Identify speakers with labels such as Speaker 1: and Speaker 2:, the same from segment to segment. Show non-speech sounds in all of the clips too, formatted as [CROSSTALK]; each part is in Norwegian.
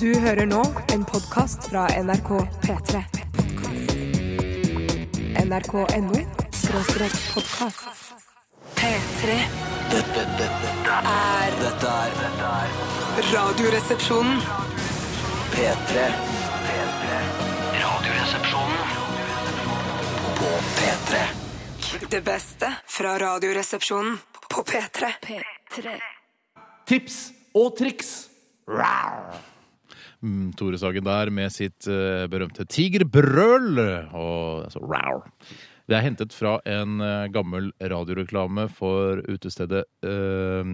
Speaker 1: Du hører nå en podkast fra NRK P3. NRK.no skråstrek podkast. P3
Speaker 2: Dette, dette,
Speaker 1: er
Speaker 2: dette er dette er
Speaker 1: Radioresepsjonen.
Speaker 2: P3. P3. Radioresepsjonen på P3.
Speaker 1: Det beste fra Radioresepsjonen på P3.
Speaker 3: tips og triks. Mm, Tore Sagen der med sitt eh, berømte tigerbrøl. Og altså, rar. Det er hentet fra en eh, gammel radioreklame for utestedet eh,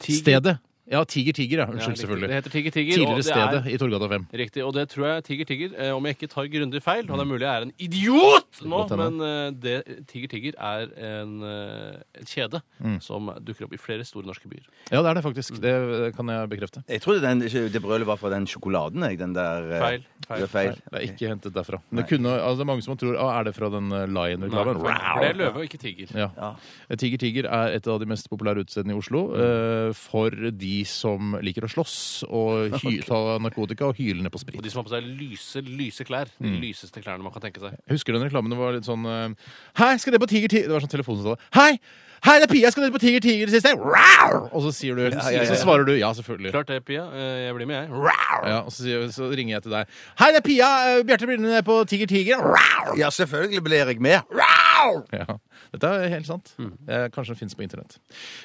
Speaker 4: Tiger.
Speaker 3: Stedet. Ja, Tiger Tiger, ja. Unnskyld,
Speaker 4: riktig.
Speaker 3: selvfølgelig.
Speaker 4: Det heter Tigger Tigger. og
Speaker 3: Tidligere
Speaker 4: det
Speaker 3: Stedet
Speaker 4: er-
Speaker 3: i Torgata 5.
Speaker 4: Riktig, og det tror jeg Tigger Tigger, eh, om jeg ikke tar grundig feil, og det er mulig jeg er en idiot nå,
Speaker 3: godt hende.
Speaker 4: men eh, det, Tigger Tigger er en, eh, en kjede
Speaker 3: Mm.
Speaker 4: som dukker opp i flere store norske byer.
Speaker 3: Ja, det er det faktisk. Det eh, kan jeg bekrefte.
Speaker 5: Jeg trodde den, det brølet var fra den sjokoladen, jeg. Den der eh,
Speaker 4: Feil,
Speaker 5: det
Speaker 4: feil,
Speaker 5: er feil.
Speaker 3: Det er ikke hentet derfra. Men det, kunne, altså, det er mange som tror ah, Er det fra den eh, Lion-reklamen?
Speaker 4: For det er løve og ikke tiger.
Speaker 3: Ja. Tiger Tiger er et av de mest populære utestedene i Oslo eh, for de som liker å slåss og hy ta narkotika og hyle ned på
Speaker 4: Og
Speaker 3: sprit.
Speaker 4: de som har på seg lyse, lyse klær. De
Speaker 3: Mm.
Speaker 4: lyseste klærne man kan tenke seg.
Speaker 3: Husker du den reklamen det var litt sånn eh, Hei, skal dere på Tiger Tiger? Det var sånn telefonsamtale. Hei! Hei, det er Pia! Skal dere på Tiger Tiger sist? Wow! Og så sier du
Speaker 5: ja, ja.
Speaker 3: Så svarer du ja, selvfølgelig.
Speaker 4: Klart det, Pia. Eh, Jeg blir med, jeg.
Speaker 3: Ja, og så, sier, så ringer jeg til deg. Hei, det er Pia! Eh, Bjarte Brynne er på Tiger Tiger. Wow!
Speaker 5: Ja, selvfølgelig blir jeg med.
Speaker 3: Ja, Dette er helt sant. Eh, kanskje den fins på internett.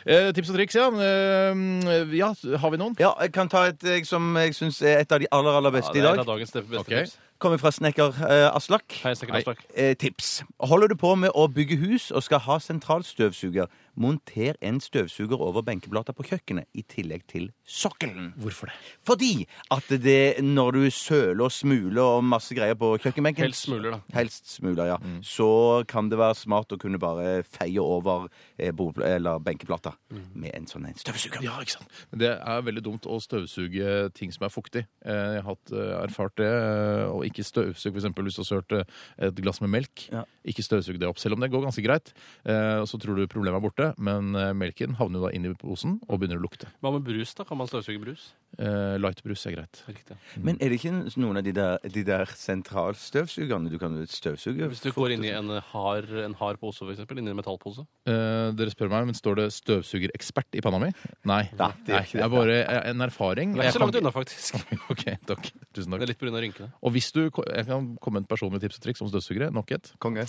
Speaker 3: Eh, tips og triks, ja. Eh, ja. Har vi noen?
Speaker 5: Ja, jeg kan ta et jeg, som jeg syns er et av de aller, aller
Speaker 4: Ja,
Speaker 5: beste
Speaker 4: det
Speaker 5: i
Speaker 4: er en av
Speaker 5: dag.
Speaker 4: dagens beste
Speaker 3: Ok.
Speaker 4: tips.
Speaker 5: Kommer fra snekker eh, Aslak.
Speaker 4: Hei, Stekker
Speaker 3: Hei.
Speaker 4: Aslak.
Speaker 5: Eh, tips. Holder du på med å bygge hus og skal ha sentralstøvsuger, monter en støvsuger over benkeblata på kjøkkenet i tillegg til sokkelen.
Speaker 3: Hvorfor det?
Speaker 5: Fordi at det når du søler og smuler og masse greier på kjøkkenbenken
Speaker 4: Helst smuler, da.
Speaker 5: Helst smuler, ja. Så kan det være smart å kunne bare feie over eh, bordpl- eller benkeplata med en sånn en støvsuger.
Speaker 3: Ja, ikke sant? Men det er veldig dumt å støvsuge ting som er fuktig. Eh, Jeg har hatt, eh, erfart det. eh, Og ikke støvsug f.eks. hvis du har sølt eh, et glass med melk.
Speaker 5: Ja.
Speaker 3: Ikke støvsug det opp, selv om det går ganske greit. Eh, og Så tror du problemet er borte, men eh, melken havner jo da inn i posen og begynner å lukte.
Speaker 4: Hva med brus, da? Kan man støvsuge brus?
Speaker 3: Eh, Lightbrus er greit.
Speaker 4: Riktig.
Speaker 5: Men er det ikke noen av de der, de der sentralstøvsugerne du kan støvsuge?
Speaker 4: Hvis du går inn i en eh, hard, en hard pose, for eksempel, inn i en metallpose
Speaker 3: Eh, dere spør meg, men står det 'støvsugerekspert' i panna mi? Nei.
Speaker 5: Nei, det er
Speaker 3: Nei,
Speaker 5: ikke det.
Speaker 3: det er bare eh, en erfaring.
Speaker 4: Det er
Speaker 3: Jeg
Speaker 4: ikke så
Speaker 3: kan
Speaker 4: langt unna, faktisk.
Speaker 3: ikke- [LAUGHS] Ok, takk. Tusen
Speaker 4: Det er
Speaker 3: takk.
Speaker 4: litt pga. rynkene.
Speaker 3: [LAUGHS] Og hvis du, Jeg kan komme med et personlig tips og triks om støvsugere. Nok et.
Speaker 5: Konge.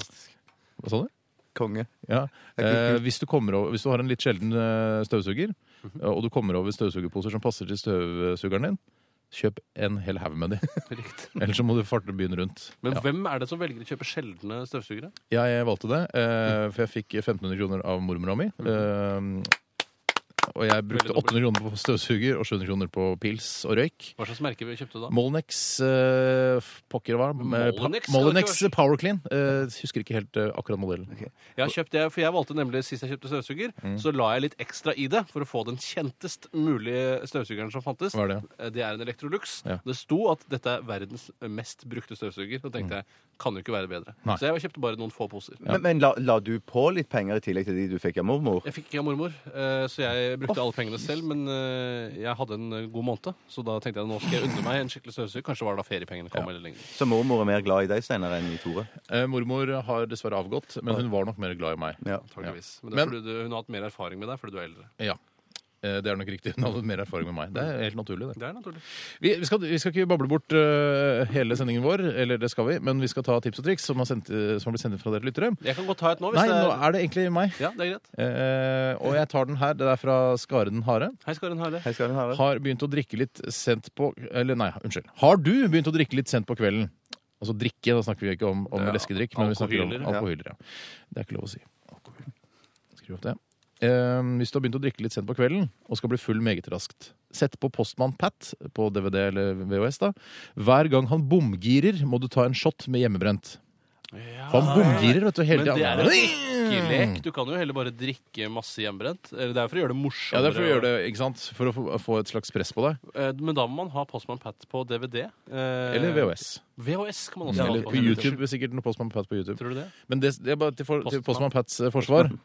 Speaker 3: Hva sa du?
Speaker 5: Konge.
Speaker 3: Ja.
Speaker 5: Det er kult,
Speaker 3: Eh, hvis, du kommer over, hvis du har en litt sjelden eh, støvsuger, eh, og du kommer over støvsugerposer som passer til støvsugeren din, kjøp en hel haug med de. [LAUGHS]
Speaker 4: Riktig.
Speaker 3: Ellers så må du farte byen rundt.
Speaker 4: Men
Speaker 3: Ja.
Speaker 4: hvem er det som velger å kjøpe sjeldne støvsugere?
Speaker 3: Jeg valgte det, eh, for jeg fikk 1500 kroner av mormora mi. Eh, og jeg brukte
Speaker 4: Mm. Veldig dobbelt.
Speaker 3: 800 kroner på støvsuger og 700 kroner på pils og røyk.
Speaker 4: Hva slags merke vi kjøpte da?
Speaker 3: Mm. Molnex eh, f- pokker hva? Eh, pa-
Speaker 4: Molnex?
Speaker 3: Molnex Power Clean. Eh, husker ikke helt eh, akkurat modellen.
Speaker 4: Jeg har kjøpt det, for jeg valgte nemlig Sist jeg kjøpte støvsuger,
Speaker 3: Mm.
Speaker 4: så la jeg litt ekstra i det for å få den kjentest mulige støvsugeren som fantes.
Speaker 3: Hva er det?
Speaker 4: Eh, er en Electrolux.
Speaker 3: Ja.
Speaker 4: Det sto at dette er verdens mest brukte støvsuger. Da tenkte jeg kan jo ikke være bedre.
Speaker 3: Mm. Nei.
Speaker 4: Så jeg kjøpte bare noen få poser.
Speaker 5: Men, men la, la du på litt penger i tillegg til de du fikk av mormor?
Speaker 4: Jeg fikk ikke av mormor, eh, så jeg brukte alle pengene selv. Men eh, jeg hadde en eh, god måned, så da tenkte jeg nå skal jeg unne meg en skikkelig støvsuger. Kanskje var det da feriepengene kom. eller lenger.
Speaker 5: Så mormor er mer glad i deg, Steinar, enn i Tore?
Speaker 3: Eh, mormor har dessverre avgått, men hun var nok mer glad i meg.
Speaker 5: Ja.
Speaker 4: antageligvis. Men det
Speaker 3: Men-
Speaker 4: er fordi du, hun har hatt mer erfaring med deg fordi du er eldre.
Speaker 3: Ja. Eh, Det er nok riktig. [LAUGHS] Hun hadde mer erfaring med meg. Det er helt naturlig, det.
Speaker 4: Det er naturlig.
Speaker 3: Vi, vi, skal, vi skal ikke bable bort eh, hele sendingen vår, eller det skal vi, men vi skal ta tips og triks som har, sendt, eh, som har blitt sendt inn fra dere lyttere.
Speaker 4: Jeg kan godt ta et nå. hvis
Speaker 3: Nei,
Speaker 4: det
Speaker 3: nå
Speaker 4: er...
Speaker 3: er det egentlig meg.
Speaker 4: Ja, det er greit.
Speaker 3: Eh, og jeg tar den her. Det er fra Skare den harde.
Speaker 4: Hei, Skarin Harle.
Speaker 5: Hei skal du ha.
Speaker 3: Har begynt å drikke litt sent på Eller nei, unnskyld. Har du begynt å drikke litt sent på kvelden? Altså drikke, da snakker vi ikke om, om
Speaker 4: Ja,
Speaker 3: leskedrikk, men vi snakker om
Speaker 4: alkohyler, ja.
Speaker 3: alkohyler. Ja. Det er ikke lov å si. Skriv opp det. Eh, hvis du har begynt å drikke litt sent på kvelden og skal bli full meget raskt, sett på Postmann Pat på DVD eller VHS. da. Hver gang han bomgirer, må du ta en shot med hjemmebrent. For han bomgirer, vet du. Hele
Speaker 4: Ah, Men det er
Speaker 3: tiden.
Speaker 4: jo ikke lek. Du kan jo heller bare drikke masse hjemmebrent. Eller det er for å gjøre det
Speaker 3: Ja,
Speaker 4: morsommere.
Speaker 3: det er for å gjøre det, ikke sant? For å få- få et slags press på deg.
Speaker 4: Eh, Men da må man ha Postman Pat på DVD. eh,
Speaker 3: Eller VHS.
Speaker 4: VHS kan man også
Speaker 3: Eller
Speaker 4: ha.
Speaker 3: på YouTube. Sikkert noe Postmann Pat på YouTube.
Speaker 4: Tror du det?
Speaker 3: Men det, det er bare til, for, til Postmann
Speaker 4: Postmann.
Speaker 3: Pats eh, forsvar.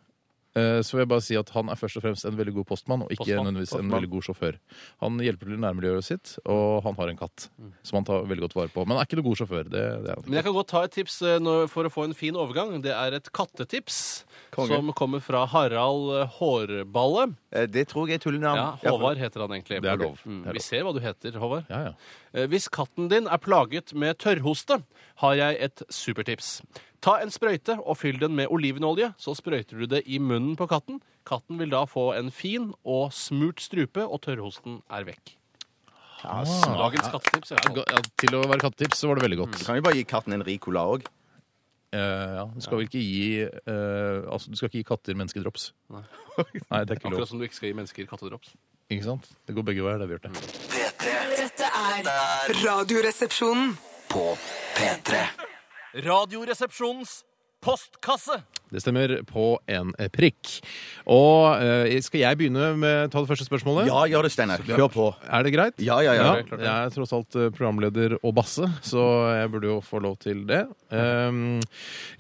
Speaker 3: Eh, Så vil jeg bare si at han er først og fremst en veldig god postmann, og ikke
Speaker 4: Postmann.
Speaker 3: nødvendigvis en
Speaker 4: Postmann.
Speaker 3: veldig god sjåfør. Han hjelper til i nærmiljøet sitt, og han har en katt som han tar veldig godt vare på. Men han er ikke noen god sjåfør. Det, det er han
Speaker 4: Mm. Men
Speaker 3: ikke.
Speaker 4: jeg kan godt ta et tips eh, nå for å få en fin overgang. Det er et kattetips
Speaker 5: Konge.
Speaker 4: som kommer fra Harald eh, Hårballe.
Speaker 5: Eh, Det tror jeg er tullenavn.
Speaker 4: Ja,
Speaker 5: Ja, for-
Speaker 4: Håvard heter han egentlig.
Speaker 3: Det er lov.
Speaker 4: Mm,
Speaker 3: Det er
Speaker 4: Vi
Speaker 3: lov.
Speaker 4: ser hva du heter, Håvard.
Speaker 3: Ja, ja.
Speaker 4: Eh, Hvis katten din er plaget med tørrhoste, har jeg et supertips. Ta en sprøyte og fyll den med olivenolje, så sprøyter du det i munnen på katten. Katten vil da få en fin og smurt strupe, og tørrhosten er vekk. Dagens kattetips. i hvert fall.
Speaker 3: Ga- Ah. Ja, til å være kattetips så var det veldig godt.
Speaker 5: Du kan jo bare gi katten en Ricola òg.
Speaker 4: Mm.
Speaker 3: Eh, ja. Du skal vel ikke gi eh, altså, Du skal ikke gi katter menneskedrops. [LAUGHS] Nei, det er ikke
Speaker 4: Akkurat
Speaker 3: lov.
Speaker 4: som du ikke skal gi mennesker kattedrops.
Speaker 3: Ikke sant? Det går begge veier. Det har vi gjort det.
Speaker 1: Dette er Radioresepsjonen.
Speaker 2: På P3.
Speaker 4: Radioresepsjonens postkasse.
Speaker 3: Det stemmer på en eh, prikk. Og eh, skal jeg begynne med ta det første spørsmålet?
Speaker 5: Ja, gjør det, Steinar. Kjør på.
Speaker 3: Er det greit?
Speaker 5: Ja, ja, ja.
Speaker 3: Ja, jeg er tross alt eh, programleder og basse, så jeg burde jo få lov til det. Um,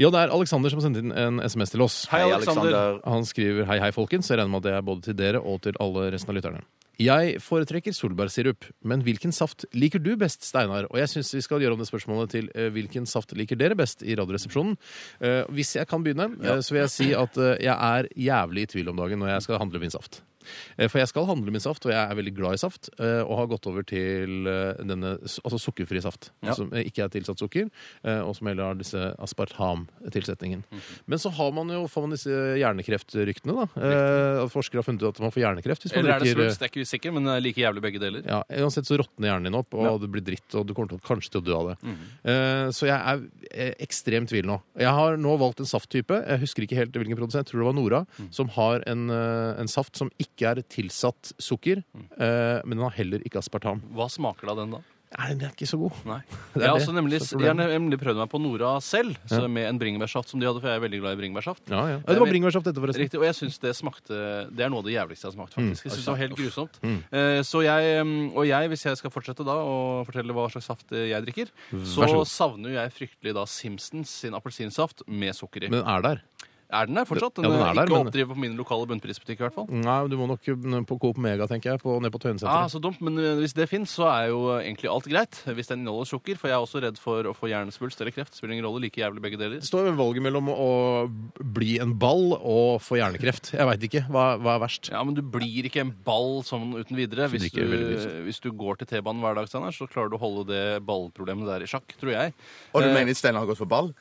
Speaker 3: ja, det er Aleksander som sendte inn en SMS til oss.
Speaker 4: Hei, Alexander.
Speaker 3: Han skriver hei, hei, folkens. Jeg regner med at det er både til dere og til alle resten av lytterne. Jeg foretrekker solbærsirup, men hvilken saft liker du best, Steinar? Og jeg syns vi skal gjøre om det spørsmålet til eh, hvilken saft liker dere best i Radioresepsjonen. Eh, hvis jeg kan begynne, eh, så vil jeg si at eh, jeg er jævlig i tvil om dagen når jeg skal handle min saft. Eh, For jeg skal handle min saft, og jeg er veldig glad i saft. eh, Og har gått over til eh, denne s- altså sukkerfri saft, som eh, ikke er tilsatt sukker, eh, og som heller har disse aspartam-tilsetningen.
Speaker 4: Mhm.
Speaker 3: Men så har man jo, får man disse hjernekreft-ryktene, da. Eh, at Forskere har funnet ut at man får hjernekreft hvis man
Speaker 4: Eller er det
Speaker 3: drikker eh,
Speaker 4: svulst? Det er ikke sikker, men det er like jævlig begge deler.
Speaker 3: ja, Uansett så råtner hjernen din opp, og det blir dritt, og du kommer til, å- kanskje til å dø av det.
Speaker 4: Mhm.
Speaker 3: Eh, så jeg er eh, ekstremt tvil nå. Jeg har nå valgt en safttype, jeg husker ikke helt hvilken produsent, jeg tror det var Nora,
Speaker 4: Mhm.
Speaker 3: som har en, eh, en saft som ikke er tilsatt sukker,
Speaker 4: Mhm.
Speaker 3: eh, men den har heller ikke aspartam.
Speaker 4: Hva smaker da den, da?
Speaker 3: Nei, den er ikke så god.
Speaker 4: Nei.
Speaker 3: [LAUGHS] Det er
Speaker 4: Jeg har også
Speaker 3: det
Speaker 4: nemlig,
Speaker 3: som er
Speaker 4: jeg har nemlig prøvd meg på Nora selv, så med en bringebærsaft som de hadde, for jeg er veldig glad i bringebærsaft.
Speaker 3: Ja, ja. Eh, Det var bringebærsaft dette, forresten.
Speaker 4: Riktig, og jeg synes det smakte Det er noe av det jævligste jeg har smakt, faktisk.
Speaker 3: Mm.
Speaker 4: Jeg synes det var helt grusomt. Eh, Så jeg, mm, og jeg, hvis jeg skal fortsette da og fortelle hva slags saft eh, jeg drikker,
Speaker 3: Vær
Speaker 4: så,
Speaker 3: så god.
Speaker 4: savner jo jeg fryktelig da Simpsons sin appelsinsaft med sukker i.
Speaker 3: Men den er der.
Speaker 4: er den der fortsatt?
Speaker 3: Ja,
Speaker 4: Den,
Speaker 3: den
Speaker 4: er
Speaker 3: er der,
Speaker 4: ikke å
Speaker 3: men-
Speaker 4: oppdrive på min lokale bunnprisbutikk, i hvert fall.
Speaker 3: Nei, du må nok eh, på Coop Mega, tenker jeg, på, ned på
Speaker 4: Ah,
Speaker 3: Tøyensenteret.
Speaker 4: så dumt, men eh, Hvis det fins, så er jo eh, egentlig alt greit. Hvis den inneholder sukker. For jeg er også redd for å få hjernesvulst eller kreft. Spiller ingen rolle, like jævlig begge deler.
Speaker 3: Det står valget mellom å bli en ball og få hjernekreft. Jeg veit ikke. Hva, hva er verst?
Speaker 4: Ja, Men du blir ikke en ball sånn uten videre. Hvis
Speaker 3: drikker
Speaker 4: du,
Speaker 3: jeg veldig mye.
Speaker 4: hvis du går til T-banen hver dag, Steinar, så klarer du å holde det ballproblemet der i sjakk, tror jeg. [LAUGHS]
Speaker 5: Og du mener Steinar har gått for ball?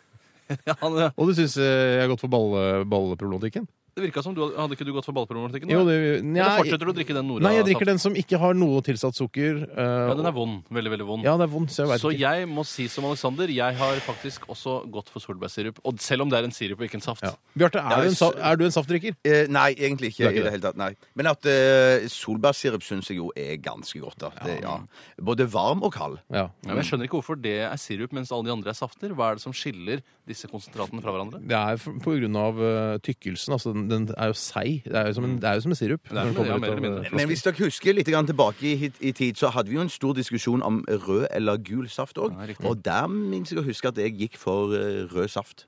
Speaker 4: Ja, han-
Speaker 3: Og du syns jeg har gått for balle, balleproblematikken?
Speaker 4: det virka som du hadde- hadde ikke du gått for ballproblematikken?
Speaker 3: Jo,
Speaker 4: da?
Speaker 3: det,
Speaker 4: Eller fortsetter du å drikke den Nora?
Speaker 3: Nei, jeg drikker den som ikke har noe tilsatt sukker. eh,
Speaker 4: Ja, den er vond. Veldig, veldig vond.
Speaker 3: Ja, det er vondt, så jeg vet
Speaker 4: Så
Speaker 3: ikke.
Speaker 4: jeg må si som Alexander, jeg har faktisk også gått for solbærsirup. Og selv om det er en sirup og ikke en saft.
Speaker 3: Ja. Bjarte, er,
Speaker 5: Ja,
Speaker 3: du en
Speaker 5: s-
Speaker 3: sa- er du en saftdrikker?
Speaker 5: Eh, nei, egentlig ikke.
Speaker 3: Det er
Speaker 5: i
Speaker 3: ikke
Speaker 5: det
Speaker 3: det.
Speaker 5: hele tatt, nei. Men at eh, solbærsirup syns jeg jo er ganske godt. da. Det, ja. Både varm og kald.
Speaker 3: Ja.
Speaker 4: Ja, men jeg skjønner ikke hvorfor det er sirup, mens alle de andre er safter. Hva er det som skiller disse konsentratene fra hverandre?
Speaker 3: Det er f- på grunn av eh, tykkelsen. Altså, den, den er jo seig. Det er jo som en, det er jo som en sirup.
Speaker 4: Mm. er
Speaker 3: når den
Speaker 4: mer- ja,
Speaker 3: kommer ut
Speaker 4: mer eller
Speaker 3: av,
Speaker 4: mindre.
Speaker 3: eh,
Speaker 5: Men hvis dere husker litt grann tilbake i, hit- i tid, så hadde vi jo en stor diskusjon om rød eller gul saft òg.
Speaker 4: Ja, riktig.
Speaker 5: og der minnes jeg å huske at jeg gikk for eh, rød saft.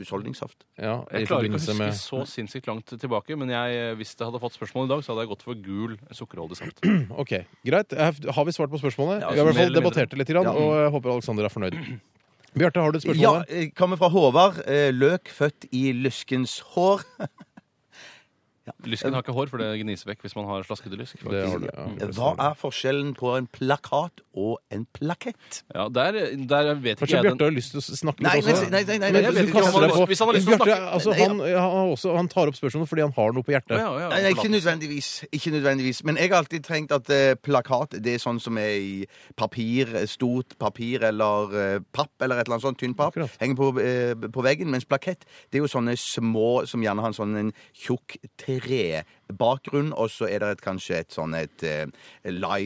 Speaker 5: Husholdningssaft.
Speaker 3: eh, ja, i
Speaker 4: Jeg klarer ikke å
Speaker 3: forbindelse
Speaker 4: huske
Speaker 3: med-
Speaker 4: så sinnssykt langt tilbake, men jeg, hvis jeg hadde fått spørsmål i dag, så hadde jeg gått for gul sukkerholdig saft.
Speaker 3: Ok, Greit. Jeg- Har vi svart på spørsmålet?
Speaker 5: Ja,
Speaker 3: vi har i hvert
Speaker 4: mer
Speaker 3: fall
Speaker 4: eller
Speaker 3: debattert det litt, grann, og jeg håper Alexander er fornøyd. Bjarte, har du et spørsmål?
Speaker 5: Ja,
Speaker 3: der?
Speaker 5: eh, kommer fra Håvard. eh, Løk født i lyskens hår.
Speaker 4: Lysken har ikke hår, for det gniser vekk hvis man har slaskete lysk. faktisk.
Speaker 3: Det har du, ja.
Speaker 5: Eh, Hva er forskjellen på en plakat og en plakett?
Speaker 4: Ja, der, der vet
Speaker 3: Kanskje
Speaker 4: ikke jeg
Speaker 3: Bjarte
Speaker 4: den.
Speaker 3: har lyst til å snakke
Speaker 5: Nei,
Speaker 3: litt
Speaker 5: nei,
Speaker 3: også?
Speaker 5: nei, nei, nei,
Speaker 4: Men
Speaker 5: nei,
Speaker 4: jeg
Speaker 5: nei,
Speaker 4: vet ikke om han har lyst- hvis han har lyst til å
Speaker 3: Bjarte,
Speaker 4: snakke-
Speaker 3: altså,
Speaker 5: Nei,
Speaker 3: han, han, har også, han tar opp spørsmålet fordi han har noe på hjertet.
Speaker 4: Å, ja, ja,
Speaker 5: Nei, nei, ikke
Speaker 4: forlatt.
Speaker 5: nødvendigvis. ikke nødvendigvis. Men jeg har alltid tenkt at eh, plakat det er sånn som er i papir, eh, stort papir eller eh, papp, eller et eller annet sånt tynn papp,
Speaker 3: Akkurat.
Speaker 5: henger på, eh, på veggen. Mens plakett det er jo sånne små som gjerne har en sånn en tjukk trebakgrunn, og så er det et, kanskje et sånn et eh,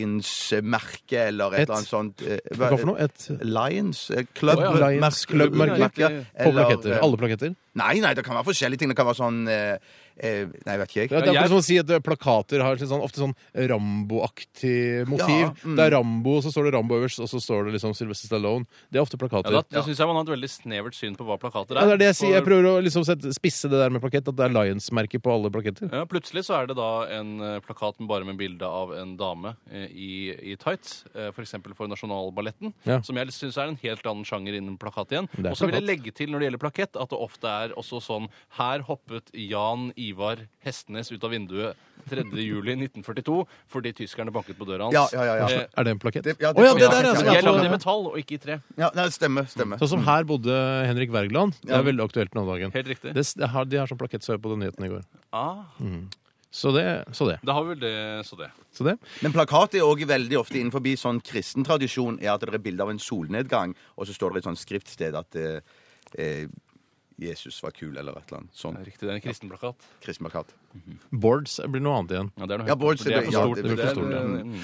Speaker 5: Lions-merke eller et,
Speaker 3: Et-
Speaker 5: eller annet sånt. eh,
Speaker 3: Hva for noe? Et
Speaker 5: Lions? eh,
Speaker 4: Å,
Speaker 5: Club?
Speaker 4: ja.
Speaker 3: Lions
Speaker 5: merke,
Speaker 3: Club-merke?
Speaker 5: merke,
Speaker 4: På
Speaker 3: På
Speaker 5: eller,
Speaker 3: plaketter?
Speaker 5: eh,
Speaker 3: Alle plaketter?
Speaker 5: Nei, nei, det kan være forskjellige ting. Det kan være sånn eh, eh, Nei, vet ikke
Speaker 3: Det er,
Speaker 5: jeg.
Speaker 3: det er
Speaker 4: jeg-
Speaker 3: akkurat som å si at eh, plakater har litt sånn, ofte sånn Rambo-aktig motiv.
Speaker 5: Ja, mm.
Speaker 3: Det er Rambo, så står det Rambo øverst, og så står det liksom Sylvester Stallone. Det er ofte plakater.
Speaker 4: Ja, da, da syns jeg man har et veldig snevert syn på hva plakater
Speaker 3: Ja,
Speaker 4: er.
Speaker 3: det er det jeg sier. Jeg
Speaker 4: For-
Speaker 3: prøver å liksom sette, spisse det der med plakett, at det er Lions-merket på alle plaketter.
Speaker 4: ja, plutselig så er det da en eh, plakat med bare med bilde av en dame eh, i, i tights, eh, for eksempel for Nasjonalballetten,
Speaker 3: Ja.
Speaker 4: som jeg syns er en helt annen sjanger innen plakat igjen.
Speaker 3: er
Speaker 4: Og så vil jeg
Speaker 3: plakat.
Speaker 4: legge til når det gjelder plakett, at det ofte er også sånn Her hoppet Jan Ivar Hestenes ut av vinduet 3. juli 1942 fordi tyskerne banket på døra hans.
Speaker 5: Ja, ja, ja, ja.
Speaker 4: Eh,
Speaker 3: Er det en plakett? Å
Speaker 5: Det-
Speaker 3: ja,
Speaker 5: ja, det-
Speaker 3: det, der er
Speaker 5: ja,
Speaker 3: det
Speaker 5: ja,
Speaker 3: som
Speaker 5: ja.
Speaker 4: Jeg
Speaker 3: er
Speaker 4: lagde i
Speaker 3: på
Speaker 4: metall og ikke i tre.
Speaker 5: Ja, nei, stemmer. stemmer.
Speaker 3: Sånn som her bodde Henrik Wergeland. Det
Speaker 5: Ja.
Speaker 3: er veldig aktuelt nå om dagen.
Speaker 4: Helt riktig.
Speaker 3: Det, det har, de har sånn plakett, så jeg på den nyheten i går.
Speaker 4: Ah,
Speaker 3: Så det. Så det.
Speaker 4: da har vi vel det, så det.
Speaker 3: Så det.
Speaker 5: Men plakat er òg veldig ofte innenfor sånn kristen tradisjon er at det er bilde av en solnedgang, og så står det et sånt skriftsted at eh, eh, Jesus var kul, eller et eller annet. Sånn
Speaker 4: Det er Riktig, det er en kristen plakat.
Speaker 5: kristen plakat.
Speaker 3: Boards blir noe annet igjen.
Speaker 4: Ja, det er noe
Speaker 5: Ja,
Speaker 4: helt
Speaker 5: Bård,
Speaker 4: annet.
Speaker 5: sier
Speaker 4: det er
Speaker 5: du-
Speaker 4: for
Speaker 5: ja,
Speaker 4: stort.
Speaker 5: det
Speaker 4: det
Speaker 5: blir for
Speaker 4: er-
Speaker 5: stort, ja.
Speaker 4: mm.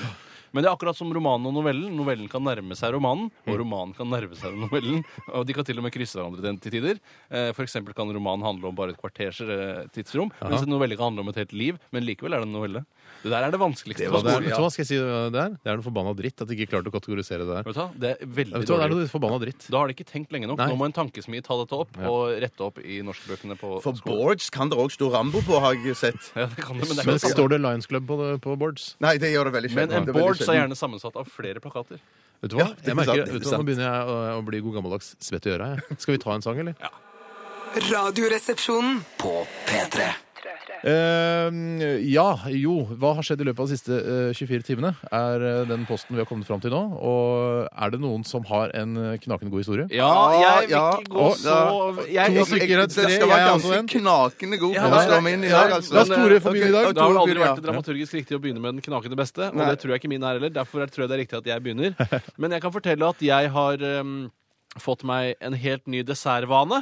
Speaker 4: Men det er akkurat som romanen og novellen. Novellen kan nærme seg romanen, og romanen kan nærme seg novellen. Og de kan til og med krysse hverandre til- til tider. Eh, For eksempel kan romanen handle om bare et kvarters eh, tidsrom, mens en novelle kan handle om et helt liv. Men likevel er det en novelle. Det der er det vanskeligste
Speaker 5: Det
Speaker 4: på
Speaker 5: var
Speaker 3: Og det er,
Speaker 4: skolen.
Speaker 3: vet du hva skal jeg si uh, det er? Det er noe forbanna dritt at de ikke klarte å kategorisere det der.
Speaker 4: Vet du hva? Det er
Speaker 3: Ja, Vet du
Speaker 4: veldig
Speaker 3: hva, det er
Speaker 4: dårlig.
Speaker 3: noe forbanna dritt.
Speaker 4: Da har de ikke tenkt lenge nok.
Speaker 3: Nei.
Speaker 4: Nå må en tankesmi ta dette opp
Speaker 3: Ja.
Speaker 4: og rette opp i norskbøkene på
Speaker 5: For
Speaker 4: skolen.
Speaker 5: boards kan det òg stå Rambo på, har jeg sett.
Speaker 4: Ja, det kan det, [LAUGHS] men det er
Speaker 3: Men
Speaker 4: ikke
Speaker 3: står det Lions Club på, på boards?
Speaker 5: Nei, det gjør det veldig
Speaker 4: Men
Speaker 5: sjelden. Det
Speaker 4: en
Speaker 5: er veldig
Speaker 4: board eh, er
Speaker 5: sjelden.
Speaker 4: gjerne sammensatt av flere plakater.
Speaker 3: Vet du hva?
Speaker 5: Ja, det er
Speaker 3: jeg merker,
Speaker 5: sant, det er
Speaker 3: vet du hva? Nå
Speaker 5: sant.
Speaker 3: begynner jeg å, å bli god gammeldags svett i øra. jeg. Skal vi ta en sang, eller?
Speaker 1: Radioresepsjonen.
Speaker 2: På P3.
Speaker 3: Eh, ja, jo. Hva har skjedd i løpet av de siste eh, 24 timene? Er eh, den posten vi har kommet fram til nå. Og er det noen som har en eh, knakende god historie?
Speaker 4: Ja, jeg vil ikke gå
Speaker 3: og-
Speaker 4: så jeg,
Speaker 3: To stykker er
Speaker 5: Den
Speaker 3: tre,
Speaker 5: skal
Speaker 3: jeg
Speaker 5: være
Speaker 3: er også
Speaker 5: ganske
Speaker 3: en.
Speaker 5: knakende god
Speaker 4: Ja,
Speaker 5: for å
Speaker 4: nei,
Speaker 5: strømme inn i
Speaker 4: nei,
Speaker 5: dag, altså.
Speaker 3: La Store få begynne i dag.
Speaker 5: Ok,
Speaker 4: Det har vel
Speaker 5: Tore
Speaker 4: aldri
Speaker 5: begynner, ja.
Speaker 4: vært dramaturgisk riktig å begynne med den knakende beste, og
Speaker 5: Nei.
Speaker 4: det tror jeg ikke min er heller. Derfor tror jeg det er riktig at jeg begynner. Men jeg kan fortelle at jeg har ehm, fått meg en helt ny dessertvane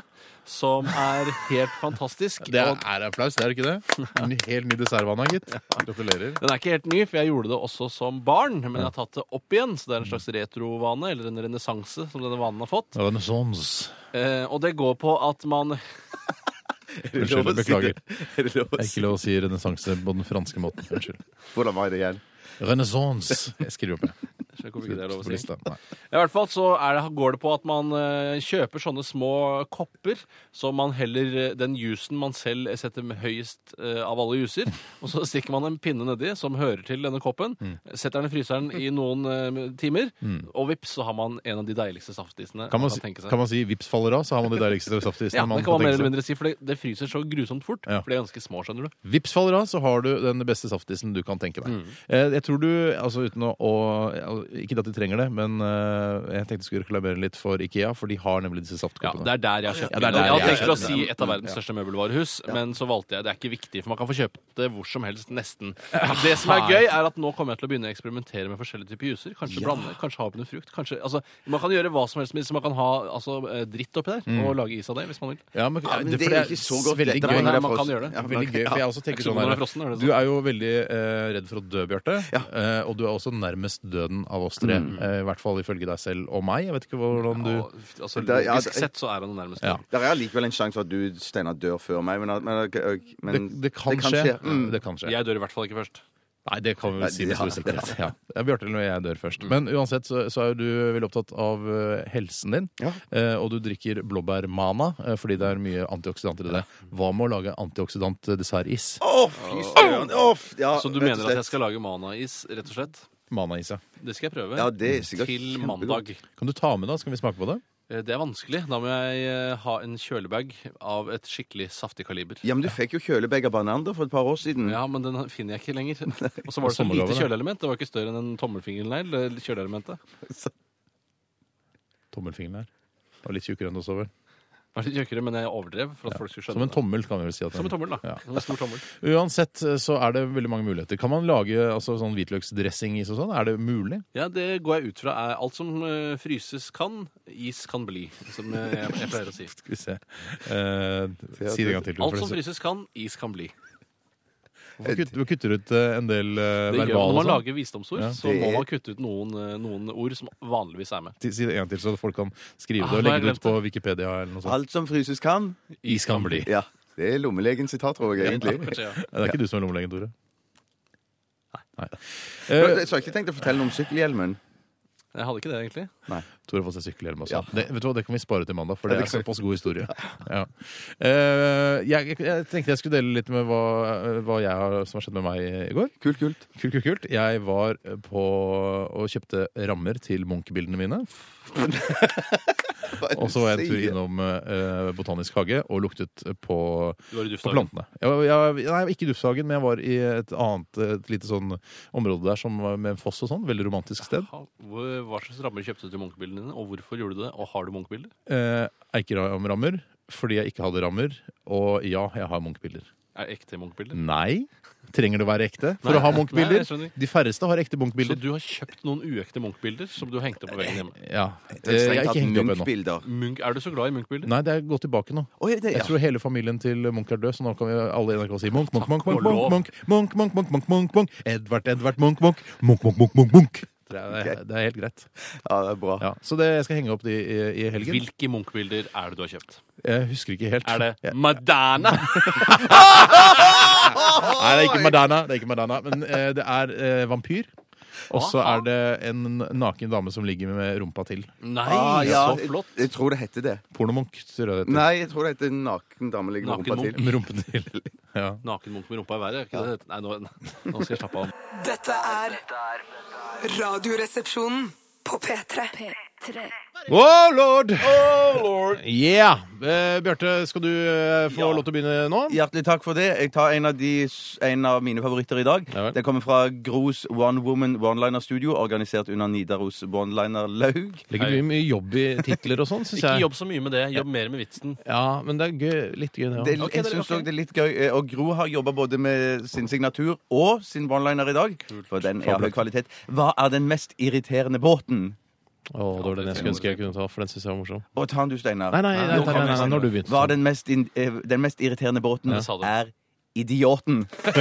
Speaker 4: som er helt fantastisk.
Speaker 3: Det
Speaker 4: Og
Speaker 3: er applaus, det er det ikke det? [LAUGHS] En helt ny dessertvane, gitt. Gratulerer.
Speaker 4: den er ikke helt ny, for jeg gjorde det også som barn, men jeg har tatt det opp igjen. Så det er en slags retrovane, eller en renessanse, som denne vanen har fått.
Speaker 3: Renaissance.
Speaker 4: Eh, og det går på at man
Speaker 5: Er det lov å
Speaker 3: Unnskyld,
Speaker 5: si
Speaker 3: beklager.
Speaker 5: det? [LAUGHS] Er det lov å
Speaker 3: Det er
Speaker 5: si
Speaker 3: ikke lov å si renessanse på den franske måten. Unnskyld.
Speaker 5: Hvordan var det igjen?
Speaker 3: Renaissance. Jeg skriver opp, jeg.
Speaker 4: Jeg håper ikke det er lov å
Speaker 3: På
Speaker 4: si.
Speaker 3: lista. Nei.
Speaker 4: I hvert fall så er det, går det på at man eh, kjøper sånne små kopper som man heller eh, den jusen man selv setter med høyest eh, av alle
Speaker 3: [LAUGHS]
Speaker 4: juser, og så stikker man en pinne nedi som hører til denne koppen,
Speaker 3: Mm.
Speaker 4: setter den i fryseren i noen eh, timer, og vips, så har man en av de deiligste saftisene
Speaker 3: Kan man, si,
Speaker 4: tenke seg.
Speaker 3: kan man si 'vips faller av', så har man de deiligste saftisene
Speaker 4: ja, det
Speaker 3: man
Speaker 4: kan
Speaker 3: tenke
Speaker 4: man mer eller
Speaker 3: seg.
Speaker 4: mindre si, for det, det fryser så grusomt fort,
Speaker 3: Ja.
Speaker 4: for de er ganske små, skjønner du.
Speaker 3: Vips faller av, så har du den beste saftisen du kan tenke deg.
Speaker 4: Mm.
Speaker 3: Eh, Jeg tror du, altså uten å, å Ikke at de trenger det, men eh, jeg tenkte jeg skulle reklamere litt for Ikea, for de har nemlig disse
Speaker 4: Ja,
Speaker 3: saftkoppene.
Speaker 4: det er der jeg har kjøpt
Speaker 3: Ja, det er
Speaker 4: mine.
Speaker 3: der
Speaker 4: Jeg hadde
Speaker 3: jeg-
Speaker 4: tenkt til å
Speaker 3: ja,
Speaker 4: si et av verdens største møbelvarehus, men så valgte jeg det er ikke viktig, for man kan få kjøpt det hvor som helst, nesten. Det som er gøy, er at nå kommer jeg til å begynne å eksperimentere med forskjellige typer juicer. Kanskje blande, kanskje ha oppi noe frukt. Kanskje, altså, man kan gjøre hva som helst med det, så man kan ha altså, eh, dritt oppi der
Speaker 5: Mm.
Speaker 4: og lage is av det hvis man vil.
Speaker 3: Ja, men,
Speaker 5: Ja, men
Speaker 3: det,
Speaker 5: det
Speaker 3: for
Speaker 5: er ikke så godt
Speaker 3: veldig
Speaker 5: dette
Speaker 3: gøy.
Speaker 5: her når
Speaker 4: Nei,
Speaker 5: er
Speaker 4: man kan
Speaker 5: frossen.
Speaker 4: gjøre det.
Speaker 5: Ja,
Speaker 3: Veldig gøy, for jeg også tenker
Speaker 4: Ikke
Speaker 3: sånn
Speaker 4: når
Speaker 3: her,
Speaker 4: det er frossen, er det
Speaker 3: Du
Speaker 4: sånn?
Speaker 3: er jo veldig eh, redd for å dø, Bjarte. Eh, og du er også nærmest døden av oss tre.
Speaker 5: Mm.
Speaker 3: Eh, I hvert fall ifølge deg selv og meg. Jeg vet ikke hvordan du
Speaker 4: Og, altså,
Speaker 5: Det er- ja,
Speaker 4: logisk
Speaker 5: det-
Speaker 4: sett så er han nærmest
Speaker 3: Ja.
Speaker 5: Der er likevel en sjanse for at du, Steinar, dør før meg, men, men, men
Speaker 3: det, det kan skje.
Speaker 5: Mm.
Speaker 3: Det kan skje.
Speaker 4: Jeg dør i hvert fall ikke først.
Speaker 3: Nei, det kan vi
Speaker 5: Nei,
Speaker 3: vel si med
Speaker 5: ja,
Speaker 3: stor sikkerhet. Ja. Ja, Bjarte eller jeg dør først. Men uansett så, så er jo du veldig opptatt av eh, helsen din.
Speaker 5: Ja.
Speaker 3: Eh, og du drikker blåbærmana eh, fordi det er mye antioksidanter i det. Hva med å lage antioksidant-dessertis?
Speaker 5: Å, fy søren! Å, f- ja,
Speaker 4: Så du
Speaker 5: rett og
Speaker 4: mener at jeg
Speaker 5: slett.
Speaker 4: skal lage manais, rett og slett?
Speaker 3: Mana-is, ja.
Speaker 4: Det skal jeg prøve.
Speaker 5: Ja, det er sikkert
Speaker 4: til
Speaker 5: kjempegodt.
Speaker 4: mandag.
Speaker 3: Kan du ta med, da? Skal vi smake på det?
Speaker 4: Eh, Det er vanskelig. Da må jeg eh, ha en kjølebag av et skikkelig saftig kaliber.
Speaker 5: Ja, men du fikk jo kjølebag av Bernander for et par år siden.
Speaker 4: Ja, men den finner jeg
Speaker 3: [LAUGHS]
Speaker 4: ikke lenger. Og så var det så
Speaker 3: Sommergave,
Speaker 4: lite
Speaker 3: det.
Speaker 4: kjøleelement. Det var ikke større enn en tommelfingernegl. det Kjøleelementet.
Speaker 3: Tommelfingeren her. Det var litt tjukkere enn det også, vel.
Speaker 4: Var litt tjukkere, men jeg overdrev for at folk skulle
Speaker 3: Som
Speaker 4: skjønne
Speaker 3: en tommel, kan vi vel si. At
Speaker 4: det. Som en tommel, da.
Speaker 3: Ja.
Speaker 4: Som en stor tommel.
Speaker 3: Uansett eh, så er det veldig mange muligheter. Kan man lage altså, sånn hvitløksdressingis og sånn? Er det mulig?
Speaker 4: Ja, det går jeg ut fra er alt som eh, fryses kan, is kan bli. Som eh, jeg, jeg pleier å si.
Speaker 3: Skal vi se. Eh, si det en gang til.
Speaker 4: Alt som
Speaker 3: for det-
Speaker 4: fryses kan, is kan bli.
Speaker 3: Hvorfor kutt- Du kutter ut eh, en del eh,
Speaker 4: Det gjør,
Speaker 3: verbale
Speaker 4: når man
Speaker 3: og sånn.
Speaker 4: lager visdomsord,
Speaker 3: Ja.
Speaker 4: så
Speaker 5: Det
Speaker 4: må
Speaker 5: er-
Speaker 4: man kutte ut noen, eh, noen ord som vanligvis er med.
Speaker 3: Ti- Si det en gang til, så folk kan skrive
Speaker 4: Ah,
Speaker 3: det og
Speaker 4: nå har
Speaker 3: legge det
Speaker 4: jeg
Speaker 3: ut på Wikipedia. eller noe sånt.
Speaker 5: Alt som fryses kan.
Speaker 3: Is kan bli.
Speaker 5: Ja. Det er lommelegen sitat, tror jeg, egentlig.
Speaker 4: Kanskje, ja.
Speaker 3: Det er ikke du som er lommelegen, Tore. Nei. Eh,
Speaker 5: Jeg har ikke tenkt å fortelle om sykkelhjelmen.
Speaker 4: Jeg hadde ikke det, egentlig.
Speaker 3: Tore har fått seg sykkelhjelm også. Det, vet du hva, det kan vi spare til mandag, for det
Speaker 5: det
Speaker 3: er såpass god historie. Ja. Eh, jeg, jeg tenkte jeg skulle dele litt med hva, hva jeg har, som har skjedd med meg i går.
Speaker 5: Kult, kult.
Speaker 3: Kult, kult, kult. Jeg var på og kjøpte rammer til Munch-bildene mine. Og så var jeg en tur innom eh, Botanisk hage og luktet på,
Speaker 4: Du
Speaker 3: på
Speaker 4: var i dufthagen.
Speaker 3: plantene. Jeg, jeg, nei, ikke i Dufthagen, men jeg var i et annet et lite sånn område der som var med en foss og sånn. Veldig romantisk sted.
Speaker 4: Ha- hvor- Hva slags rammer kjøpte du til munkebildene dine, og hvorfor gjorde du det? Og har du munkebilder?
Speaker 3: Eh, Eikeram-rammer fordi jeg ikke hadde rammer. Og ja, jeg har Munch-bilder.
Speaker 4: Er det ekte munkebilder?
Speaker 3: Nei. Trenger det å være ekte for
Speaker 4: Nei,
Speaker 3: å ha
Speaker 4: nei,
Speaker 3: Munch-bilder?
Speaker 4: jeg skjønner.
Speaker 3: De færreste har ekte
Speaker 4: Så
Speaker 3: Munch-bilder.
Speaker 4: du har kjøpt noen uekte munkbilder som du hengte opp på veggen hjemme?
Speaker 3: Ja. Eh, Jeg
Speaker 5: Jeg har
Speaker 3: har ikke hengt opp ennå.
Speaker 4: Munch, er du så glad i munkbilder?
Speaker 3: Eh, Nei, det er gå tilbake nå.
Speaker 5: det,
Speaker 3: Jeg
Speaker 5: ja.
Speaker 3: tror hele familien til Munch er død, så nå kan vi alle i NRK si Munch, Munch, Munch,
Speaker 4: Takk
Speaker 3: Munch,
Speaker 4: og
Speaker 3: Munch,
Speaker 4: lov.
Speaker 3: Munch, Munch, Munch, Munch, Munch, Munch, Munch, Edvard, Edvard, Munch, Munch, Munch, Munch, Munch, Munch, Munch. Det er, det er helt greit.
Speaker 5: ja, det er bra.
Speaker 3: Ja, så det, jeg skal henge opp de i, i helgen.
Speaker 4: Hvilke munkbilder er det du har kjøpt?
Speaker 3: Jeg husker ikke helt.
Speaker 4: Er det
Speaker 3: Ja.
Speaker 4: Madonna?
Speaker 3: Nei, det er ikke Madonna, det er ikke Madonna men eh, det er eh, vampyr. Og så
Speaker 4: Aha.
Speaker 3: er det en naken dame som ligger med rumpa til.
Speaker 4: Nei,
Speaker 5: Ah, ja,
Speaker 4: så
Speaker 5: jeg,
Speaker 4: flott!
Speaker 5: jeg tror det heter det.
Speaker 3: Pornomunk, tror jeg det heter.
Speaker 5: Nei, jeg tror det heter naken dame ligger med
Speaker 4: Naken
Speaker 5: rumpa til.
Speaker 3: Med rumpen til. Ja.
Speaker 4: Naken munk med rumpa i været. er Ikke det? Nei, nå, nå skal jeg slappe
Speaker 3: [LAUGHS]
Speaker 4: av.
Speaker 1: Dette er Radioresepsjonen på P3.
Speaker 3: Oh lord! Yeah! Eh, Bjarte, skal du eh, få
Speaker 4: Ja.
Speaker 3: lov til å begynne nå?
Speaker 5: Hjertelig takk for det. Jeg tar en av, de, en av mine favoritter i dag.
Speaker 3: Ja vel.
Speaker 5: Den kommer fra Gros One Woman One-Liner Studio, organisert under Nidaros One-Liner Laug.
Speaker 3: Legger du mye jobb i titler og sånn, syns
Speaker 4: Ikke
Speaker 3: jeg.
Speaker 4: jobb så mye med det. Jobb mer med vitsen.
Speaker 3: Ja, men det er gøy, litt gøy,
Speaker 5: Det, er-
Speaker 3: det òg.
Speaker 4: Ok,
Speaker 5: jeg
Speaker 4: dere-
Speaker 5: syns
Speaker 4: ok.
Speaker 5: også det er litt gøy. eh, Og Gro har jobba både med sin signatur og sin one-liner i dag. For den er av høy kvalitet. Hva er den mest irriterende båten?
Speaker 3: det var den jeg skulle ønske jeg kunne ta, for den syns jeg var morsom.
Speaker 5: Å, ta den du, Steinar.
Speaker 3: Nei, nei, nei, nei,
Speaker 5: Nå
Speaker 3: nei,
Speaker 5: kommer
Speaker 3: nei, nei
Speaker 5: jeg.
Speaker 3: når du begynte.
Speaker 5: Hva er den mest, in, eh, den mest irriterende båten?
Speaker 4: Ja, sa du.
Speaker 5: Er idioten. [LAUGHS] det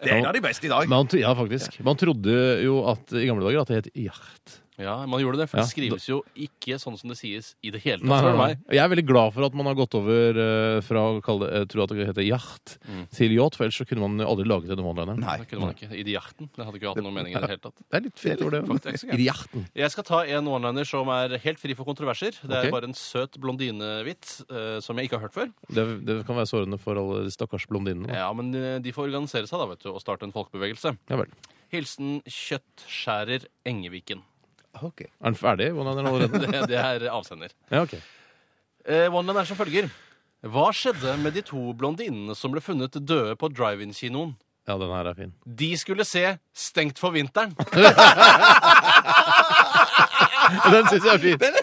Speaker 5: er en av de beste i dag.
Speaker 3: Man, tro- ja, faktisk. Man trodde jo at i gamle dager at det het Yacht.
Speaker 4: Ja, Man gjorde det, for
Speaker 3: Ja.
Speaker 4: det skrives jo ikke sånn som det sies i det hele tatt.
Speaker 3: Nei,
Speaker 4: spør
Speaker 3: nei,
Speaker 4: du
Speaker 3: nei.
Speaker 4: meg.
Speaker 3: Jeg er veldig glad for at man har gått over eh, fra å kalle det, eh, tro at det heter yacht, til yacht, for ellers så kunne man aldri laget den one-lineren.
Speaker 5: Nei.
Speaker 4: Det kunne man ikke. Idioten. Det hadde ikke hatt noen mening i det hele tatt.
Speaker 3: Det er litt fint over det.
Speaker 4: Faktisk, ja.
Speaker 3: I yachten.
Speaker 4: Jeg skal ta en one-liner som er helt fri for kontroverser. Det er
Speaker 3: Ok.
Speaker 4: bare en søt blondinevits eh, som jeg ikke har hørt før.
Speaker 3: Det, det kan være sårende for alle de stakkars blondinene.
Speaker 4: Ja, Men eh, de får organisere seg da, vet du, og starte en folkebevegelse.
Speaker 3: Ja vel.
Speaker 4: Hilsen Kjøttskjærer Engeviken. [LAUGHS]
Speaker 5: Ok.
Speaker 3: Er den ferdig? One-lineren allerede? [LAUGHS]
Speaker 4: Det, det er avsender.
Speaker 3: Ja, ok.
Speaker 4: Eh, one-liner er som følger. Hva skjedde med de to blondinene som ble funnet døde på drive-in-kinoen?
Speaker 3: Ja, den her er [LAUGHS] fin.
Speaker 4: De skulle se Stengt for
Speaker 3: [LAUGHS]
Speaker 4: vinteren.
Speaker 3: Den syns jeg er fin.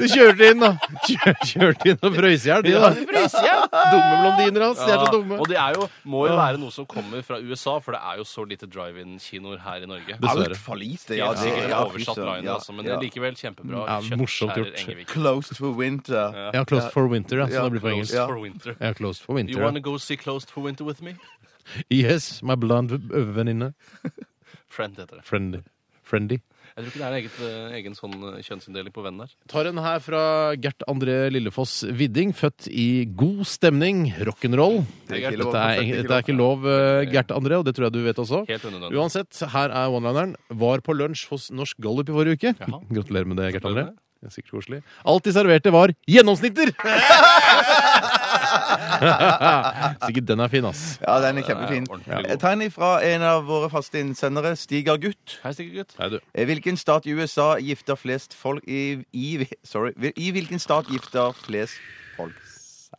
Speaker 3: Du kjørte inn, da. [LAUGHS] Kjør, kjørte inn og frøys i hjel, de, da. Dumme blondiner hans. De er så dumme.
Speaker 4: Og det er jo, må jo være noe som kommer fra USA, for det er jo så lite drive-in-kinoer her i Norge.
Speaker 3: Dessverre.
Speaker 5: Altfor lite. altså.
Speaker 4: Ja, det er
Speaker 5: ja, fy
Speaker 4: oversatt
Speaker 5: søren,
Speaker 4: line,
Speaker 5: ja,
Speaker 4: altså, men
Speaker 5: ja.
Speaker 4: likevel kjempebra.
Speaker 3: Ja, morsomt
Speaker 4: Kjøttskjærer
Speaker 3: gjort.
Speaker 4: Engevik.
Speaker 5: Closed for winter.
Speaker 3: Ja, Closed for winter, ja, som
Speaker 5: Ja,
Speaker 3: det blir på
Speaker 4: [LAUGHS]
Speaker 3: engelsk.
Speaker 4: Closed for winter.
Speaker 3: Ja, closed for
Speaker 4: You
Speaker 3: winter.
Speaker 4: wanna
Speaker 3: ja.
Speaker 4: go see Closed for winter with me?
Speaker 3: Yes, my blonde v- venninne.
Speaker 4: Friend heter det.
Speaker 3: Friendly. Friendly.
Speaker 4: Jeg tror ikke det er en eget, eh, egen sånn eh, kjønnsinndeling på venn der.
Speaker 3: Tar en her fra Gert André Lillefoss Widding, født i god stemning, rock'n'roll.
Speaker 5: Det er ikke lov.
Speaker 3: Dette er, dette er ikke lov, eh, Gert André, og det tror jeg du vet også.
Speaker 4: Helt unødvendig.
Speaker 3: Uansett, her er one-lineren. Var på lunsj hos Norsk Gallup i forrige uke.
Speaker 4: Jaha.
Speaker 3: [LAUGHS] Gratulerer med det, Gert André.
Speaker 4: Gratulerer med
Speaker 3: Det er sikkert koselig. Alt de serverte, var gjennomsnitter! [LAUGHS] sikkert den er fin, ass.
Speaker 5: Ja, den er kjempefin.
Speaker 4: Det er ordentlig god.
Speaker 5: Jeg tar en ifra en av våre faste innsendere, Stiger Gutt.
Speaker 4: Hei, Stikkergutt.
Speaker 3: Nei, du.
Speaker 5: Eh, Hvilken stat i USA gifter flest folk i, i Sorry. I hvilken stat gifter flest folk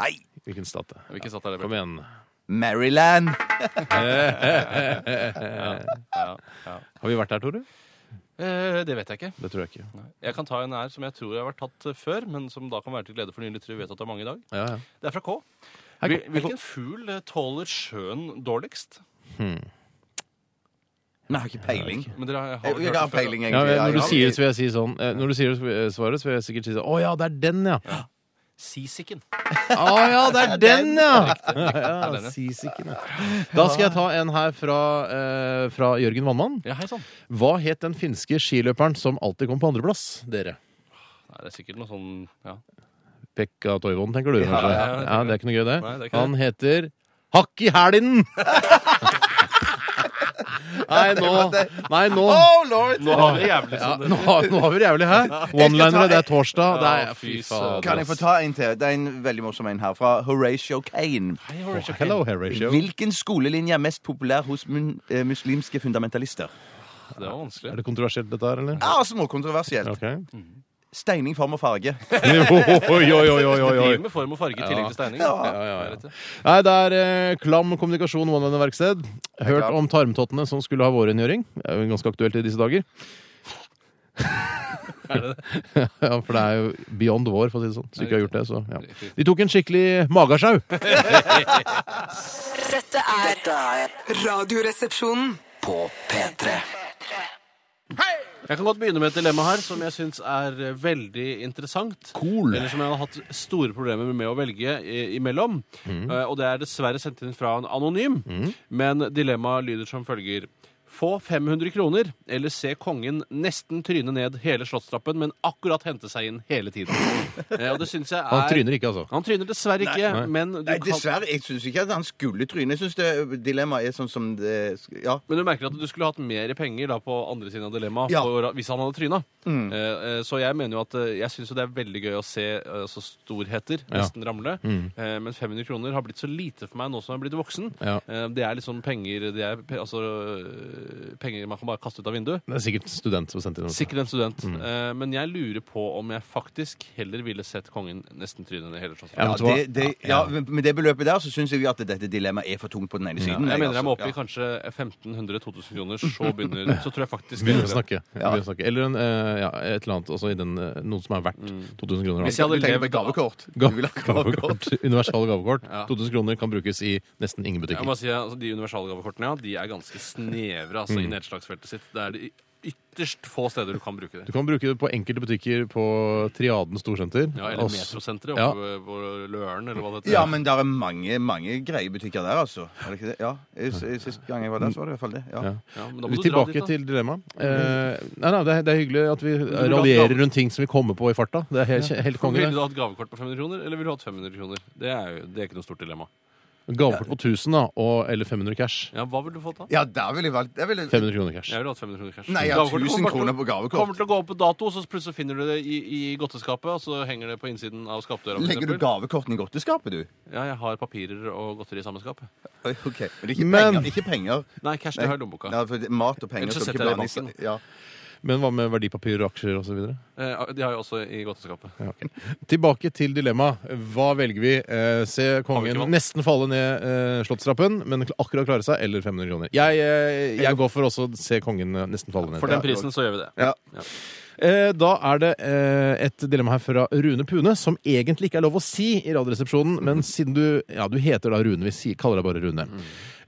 Speaker 5: Nei!
Speaker 3: Hvilken stat det er.
Speaker 4: Hvilken satt er det?
Speaker 3: Kom
Speaker 4: Bjørn?
Speaker 3: igjen.
Speaker 5: Maryland.
Speaker 4: Ja, ja.
Speaker 3: [LAUGHS] Har vi vært der, Tore?
Speaker 4: Eh, det vet jeg ikke.
Speaker 3: Det tror jeg ikke.
Speaker 4: Jeg kan ta en her som jeg tror har vært tatt eh, før, men som da kan være til glede for nye lyttere. Vi vet at det er mange i dag.
Speaker 3: Ja, ja.
Speaker 4: Det er fra K.
Speaker 3: Hei,
Speaker 4: Hvil-
Speaker 3: K.
Speaker 4: Hvilken fugl eh, tåler sjøen dårligst?
Speaker 5: Nei, jeg har ikke peiling.
Speaker 4: Men dere har,
Speaker 5: Jeg,
Speaker 4: har
Speaker 5: jeg har
Speaker 4: hørt det før, da?
Speaker 5: peiling,
Speaker 3: Ja,
Speaker 5: egentlig.
Speaker 3: når du
Speaker 5: Ja,
Speaker 3: sier det, så vil jeg si sånn eh, Når du sier eh, svaret, så vil jeg sikkert si sånn Å ja, det er den, ja!
Speaker 4: Sisiken.
Speaker 3: Å ja, det er den, [LAUGHS] ja!
Speaker 4: er den,
Speaker 3: ja
Speaker 4: ja.
Speaker 3: Sisiken, ja. Da skal jeg ta en her fra, eh, fra Jørgen Vannmann.
Speaker 4: Ja, hei sann.
Speaker 3: Hva het den finske skiløperen som alltid kom på andreplass, dere?
Speaker 4: Nei, Det er sikkert noe sånn ja.
Speaker 3: Pekka Toivonen, tenker du?
Speaker 4: Ja,
Speaker 3: kanskje?
Speaker 4: ja, ja.
Speaker 3: det er ikke noe gøy, det.
Speaker 4: Nei, det er ikke
Speaker 3: Han heter Hakk i hælen! Nei, nå Nei, nå
Speaker 5: Oh lord!
Speaker 4: Nå har vi jævlig
Speaker 3: ja,
Speaker 4: sånn
Speaker 3: nå, har- nå har vi det jævlig her. One-linere, det er torsdag. Det
Speaker 4: Ja,
Speaker 3: er,
Speaker 4: fy
Speaker 3: fy altså.
Speaker 4: søren.
Speaker 3: faen.
Speaker 5: Kan jeg få ta en til? Det er en veldig morsom en her fra Horatio Kane.
Speaker 4: Horatio Kane.
Speaker 3: Hello, Horatio.
Speaker 5: Hvilken skolelinje er mest populær hos mun, eh, muslimske fundamentalister?
Speaker 4: Det var vanskelig.
Speaker 3: Er det kontroversielt, dette her, eller?
Speaker 5: Ja, Småkontroversielt.
Speaker 3: Ok. [LAUGHS]
Speaker 5: Steining, form og farge.
Speaker 3: Oi, oi, oi, oi, oi.
Speaker 4: Driver med form og farge i tillegg til steining.
Speaker 5: Ja.
Speaker 4: Ja,
Speaker 3: ja, ja.
Speaker 4: det er rett,
Speaker 3: Nei, det er eh, Klam kommunikasjon one-liner-verksted. Hørt
Speaker 5: klart.
Speaker 3: om tarmtottene som skulle ha vårrengjøring. Det er jo ganske aktuelt i disse
Speaker 4: [LAUGHS]
Speaker 3: dager. [LAUGHS] ja, for det er jo beyond vår, for å si det sånn. Hvis du ikke har gjort det, så ja. De tok en skikkelig magasjau.
Speaker 1: Dette er Radioresepsjonen.
Speaker 2: På P3.
Speaker 4: Jeg kan godt begynne med et dilemma her som jeg syns er eh, veldig interessant.
Speaker 3: Cool.
Speaker 4: Eller som jeg har hatt store problemer med å velge i- imellom.
Speaker 3: Mm.
Speaker 4: Eh, Og det er dessverre sendt inn fra en anonym. Men dilemmaet lyder som følger. Få 500 kroner, eller se kongen nesten tryne ned hele slottstrappen, men akkurat hente seg inn hele
Speaker 3: [LAUGHS]
Speaker 4: tiden. Eh, Og det syns jeg er
Speaker 3: Han tryner ikke, altså.
Speaker 4: Han tryner dessverre ikke,
Speaker 3: Nei.
Speaker 4: men du
Speaker 5: [LAUGHS] Nei,
Speaker 4: kan
Speaker 5: dessverre. Jeg syns ikke at han skulle tryne. Jeg syns det- dilemmaet er sånn som det Ja.
Speaker 4: Men du merker at du skulle hatt mer penger da på andre siden av dilemmaet
Speaker 5: Ja.
Speaker 4: for- hvis han hadde tryna.
Speaker 3: Mm.
Speaker 4: Eh, eh, så jeg mener jo at eh, jeg syns jo det er veldig gøy å se eh, så storheter
Speaker 3: Ja. Mm.
Speaker 4: nesten ramle. Eh, men 500 kroner har blitt så lite for meg nå som jeg har blitt voksen.
Speaker 3: Ja.
Speaker 4: Eh, det er liksom penger det er, pe- altså, eh, penger man kan bare kaste ut av vinduet.
Speaker 3: Det er sikkert en student som sendte inn. dette.
Speaker 4: Sikkert en student.
Speaker 3: Mm.
Speaker 4: Eh, men jeg lurer på om jeg faktisk heller ville sett kongen nesten tryne ned hele slottet.
Speaker 3: Ja,
Speaker 5: Ja,
Speaker 3: vet du hva?
Speaker 5: det, det, ja, med det beløpet der så syns jeg jo at dette dilemmaet er for tungt på den ene siden.
Speaker 4: Jeg mener jeg må
Speaker 5: altså.
Speaker 4: opp i kanskje 1500-2000
Speaker 3: [LAUGHS]
Speaker 4: kroner, så begynner Så tror jeg faktisk
Speaker 3: Begynner
Speaker 4: jeg
Speaker 3: å
Speaker 4: gjør det.
Speaker 3: snakke. Begynner å snakke. Eller en, eh, ja, et eller annet. Altså i den, eh, noen som er verdt 2000 kroner.
Speaker 4: Mm. Hvis jeg
Speaker 5: Du
Speaker 4: hadde
Speaker 5: tenker på
Speaker 4: levd av-
Speaker 5: gavekort. Du vil ha gavekort.
Speaker 3: [LAUGHS] Gavekort. Universale gavekort.
Speaker 4: Ja.
Speaker 3: 2000 kroner kan brukes i nesten ingen
Speaker 4: Jeg
Speaker 3: butikker.
Speaker 4: må si, altså, De universalgavekortene ja, de er ganske snevre altså,
Speaker 5: Mm.
Speaker 4: i nedslagsfeltet sitt. Det er de ytterst få steder du kan bruke det.
Speaker 3: Du kan bruke det på enkelte butikker på Triaden storsenter.
Speaker 4: Ja, Eller
Speaker 3: Også-
Speaker 4: metrosenteret
Speaker 3: Ja.
Speaker 4: oppe på Løren, eller hva det heter.
Speaker 5: Altså, Ja, men det er mange mange greie butikker der, altså. Er det ikke det? Ja. Jeg- jeg- Sist gang jeg var der, så var det i hvert fall det. Ja.
Speaker 3: Ja.
Speaker 4: Ja, men da må
Speaker 3: Vi
Speaker 4: du dra
Speaker 3: tilbake
Speaker 4: dit, da.
Speaker 3: til dilemmaet. Eh, nei, nei, det, er, det er hyggelig at vi
Speaker 4: ha
Speaker 3: raljerer
Speaker 4: gave.
Speaker 3: rundt ting som vi kommer på i farta. Det er helt, helt konge.
Speaker 4: Ville
Speaker 3: det.
Speaker 4: du hatt gavekort på 500 kroner, eller ville du hatt 500 kroner? Det er jo det er ikke noe stort dilemma.
Speaker 3: Gavekort på 1000 da, og, eller 500 cash.
Speaker 4: Ja, Hva ville du fått da?
Speaker 5: Ja, der ville jeg valgt jeg ville,
Speaker 3: 500 kroner cash.
Speaker 4: Jeg ville hatt 500 kroner cash.
Speaker 5: Nei, jeg har 1000 kroner på
Speaker 4: Kommer
Speaker 5: gavekort.
Speaker 4: til å gå opp på dato, så plutselig finner du det i, i godteskapet, og så henger det på innsiden av skapdøra. for
Speaker 5: Legger du
Speaker 4: eksempel.
Speaker 5: gavekortene i godteskapet, du?
Speaker 4: Ja, jeg har papirer og godteri i samme skap.
Speaker 5: Oi, Ok, Men ikke
Speaker 3: Men-
Speaker 5: penger. Ikke penger.
Speaker 4: Nei, cash det har jeg i lommeboka.
Speaker 5: Ja, for det- mat og penger
Speaker 4: Ellers så
Speaker 5: skal
Speaker 4: setter jeg
Speaker 5: ikke
Speaker 4: det i
Speaker 5: blandes. Ja.
Speaker 3: Men hva med verdipapirer og aksjer osv.?
Speaker 4: Eh, de har jeg også i godteskapet.
Speaker 3: Ja, ok. Tilbake til dilemmaet. Hva velger vi? Eh, se kongen
Speaker 4: valgt.
Speaker 3: nesten falle ned eh, slottstrappen, men kl- akkurat klare seg, eller 500 kroner? Jeg, eh, jeg går for også se kongen eh, nesten falle ned.
Speaker 4: For den prisen så gjør vi det.
Speaker 5: Ja.
Speaker 3: Eh, Da er det eh, et dilemma her fra Rune Pune, som egentlig ikke er lov å si i Radioresepsjonen, men siden du Ja, du heter da Rune, vi sier- kaller deg bare Rune.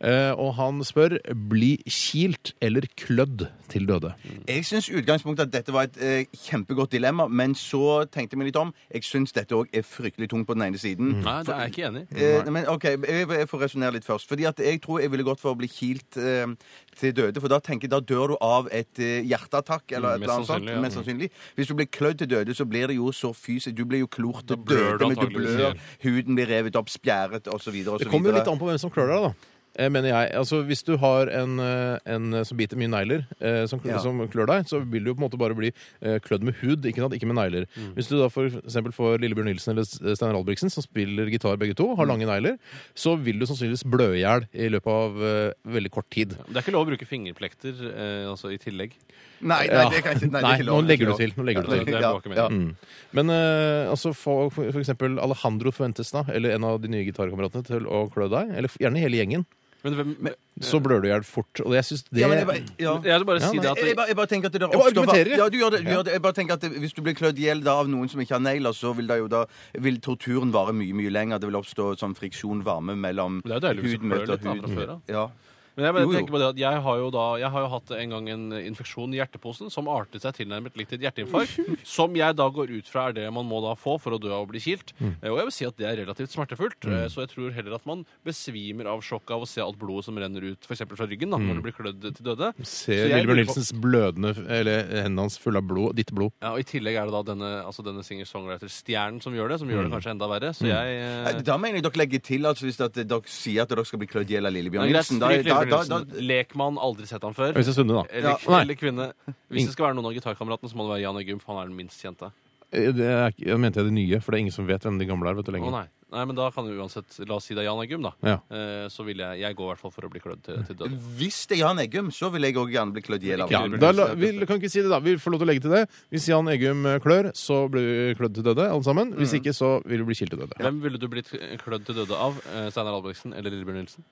Speaker 3: Eh, Og han spør bli kilt eller klødd til døde.
Speaker 5: Jeg syns i utgangspunktet at dette var et eh, kjempegodt dilemma, men så tenkte jeg meg litt om. Jeg syns dette òg er fryktelig tungt på den ene siden.
Speaker 4: Nei, det er jeg ikke enig i.
Speaker 5: Eh, men ok, jeg, jeg får resonnere litt først. Fordi at jeg tror jeg ville gått for å bli kilt eh, til døde. For da tenker jeg, da dør du av et eh, hjerteattakk eller
Speaker 4: Mm,
Speaker 5: et eller annet sånt.
Speaker 4: mest sannsynlig, ja.
Speaker 5: Mest sannsynlig. Hvis du blir klødd til døde, så blir det jo så fysisk. Du blir jo klort til
Speaker 4: blør du
Speaker 5: døde, men du
Speaker 4: antageligvis
Speaker 5: blør.
Speaker 4: igjen.
Speaker 5: Huden blir revet opp, spjæret osv.
Speaker 3: Det kommer jo litt an på hvem som klør deg, da. Eh, Mener jeg, altså Hvis du har en, eh, en eh, som biter mye negler, eh, som,
Speaker 5: Ja.
Speaker 3: som klør deg, så vil du jo på en måte bare bli eh, klødd med hud, ikke, sant? ikke med negler. Hvis du da for eksempel får Lillebjørn Nilsen eller S- eh, Steinar Albrigtsen, som spiller gitar begge to, har lange negler, så vil du sannsynligvis blø i hjel i løpet av eh, veldig kort tid.
Speaker 4: Det er ikke lov å bruke fingerplekter eh, altså, i tillegg.
Speaker 5: Nei, nei, det kan jeg ikke, nei, det er
Speaker 3: Nei,
Speaker 5: ikke
Speaker 3: nå
Speaker 5: lov.
Speaker 3: legger du
Speaker 5: Det er
Speaker 3: til.
Speaker 5: ikke
Speaker 3: Nå legger du
Speaker 4: Ja,
Speaker 3: til.
Speaker 4: det er
Speaker 5: lov.
Speaker 4: bak med.
Speaker 5: Ja, ja.
Speaker 3: Mm. Men eh, altså, få for, for eksempel Alejandro Fuentes, da, eller en av de nye gitarkameratene, til å klø deg, eller f- gjerne hele gjengen,
Speaker 4: Men hvem
Speaker 3: så blør du i hjel fort. Og jeg syns det
Speaker 5: Ja, men jeg bare- ja.
Speaker 4: Jeg vil bare
Speaker 3: Ja,
Speaker 4: si
Speaker 3: nei,
Speaker 4: det at
Speaker 5: Jeg, jeg, bare, jeg bare tenker at det der
Speaker 3: Jeg bare
Speaker 5: oppstår-
Speaker 3: argumenterer.
Speaker 5: Ja, du gjør det, du gjør det. Jeg bare tenker at det, Hvis du blir klødd i hjel da av noen som ikke har negler, så vil, det jo da, vil torturen vare mye mye lenger. Det vil oppstå sånn friksjon, varme mellom
Speaker 4: Men det er jo deilig hvis du klør
Speaker 5: hudmøte og
Speaker 4: litt da fra
Speaker 5: hud.
Speaker 4: før av.
Speaker 5: Ja.
Speaker 4: Men jeg, bare
Speaker 5: Jo, jo.
Speaker 4: tenker på det at jeg har jo da Jeg har jo hatt en gang en infeksjon i hjerteposen som artet seg tilnærmet likt et [LAUGHS] hjerteinfarkt. som jeg da går ut fra er det man må da få for å dø av å bli kilt. Eh, Og jeg vil si at det er relativt smertefullt. eh, Så jeg tror heller at man besvimer av sjokk av å se alt blodet som renner ut f.eks. fra ryggen da, når du blir klødd til døde.
Speaker 3: Se
Speaker 4: Så jeg
Speaker 3: Lillebjørn
Speaker 4: lurer på-
Speaker 3: Nilsens blødende Eller hendene hans fulle av blod. Ditt blod.
Speaker 4: Ja, og I tillegg er det da denne, altså denne singer-songwriter-stjernen som gjør det, som
Speaker 3: Mm.
Speaker 4: gjør det kanskje enda verre. Så jeg eh,
Speaker 5: Da mener jeg dere legger til altså, hvis at dere sier at dere skal bli klødd i hjel av Lillebjørn
Speaker 4: Nei, greit,
Speaker 5: Nilsen. Da,
Speaker 4: stryk
Speaker 5: da,
Speaker 4: Lillebjørn
Speaker 5: da, da,
Speaker 4: Nilsen. Lekmann, aldri sett han før.
Speaker 3: Øystein Sunde, da.
Speaker 4: Eller,
Speaker 3: Nei.
Speaker 4: eller kvinne. Hvis det skal være noen av gitarkameratene, så må det være Jan E. Gump. Han er den minst kjente.
Speaker 3: Eh, Det er, ikke- da mente jeg det nye, for det er ingen som vet hvem de gamle er. vet du
Speaker 4: Å
Speaker 3: lenger.
Speaker 4: nei. nei, men da kan du uansett La oss si det er Jan E. Gump, da.
Speaker 3: Ja.
Speaker 4: Eh, så vil jeg Jeg går i hvert fall for å bli klødd til, til døde.
Speaker 5: hvis det er Jan Eggum, så vil jeg òg gjerne bli klødd i hjel av
Speaker 3: Ja,
Speaker 5: Lillebjørn
Speaker 3: da la,
Speaker 5: Nilsen.
Speaker 3: vi kan ikke si det, da. Vi får lov til å legge til det. Hvis Jan Egum klør, så blir du klødd til døde, alle sammen. Hvis ikke, så vil du bli kilt til døde.
Speaker 4: Hvem ville du blitt klødd til døde av? Eh, Steinar Albrigtsen eller Lillebjørn Nilsen?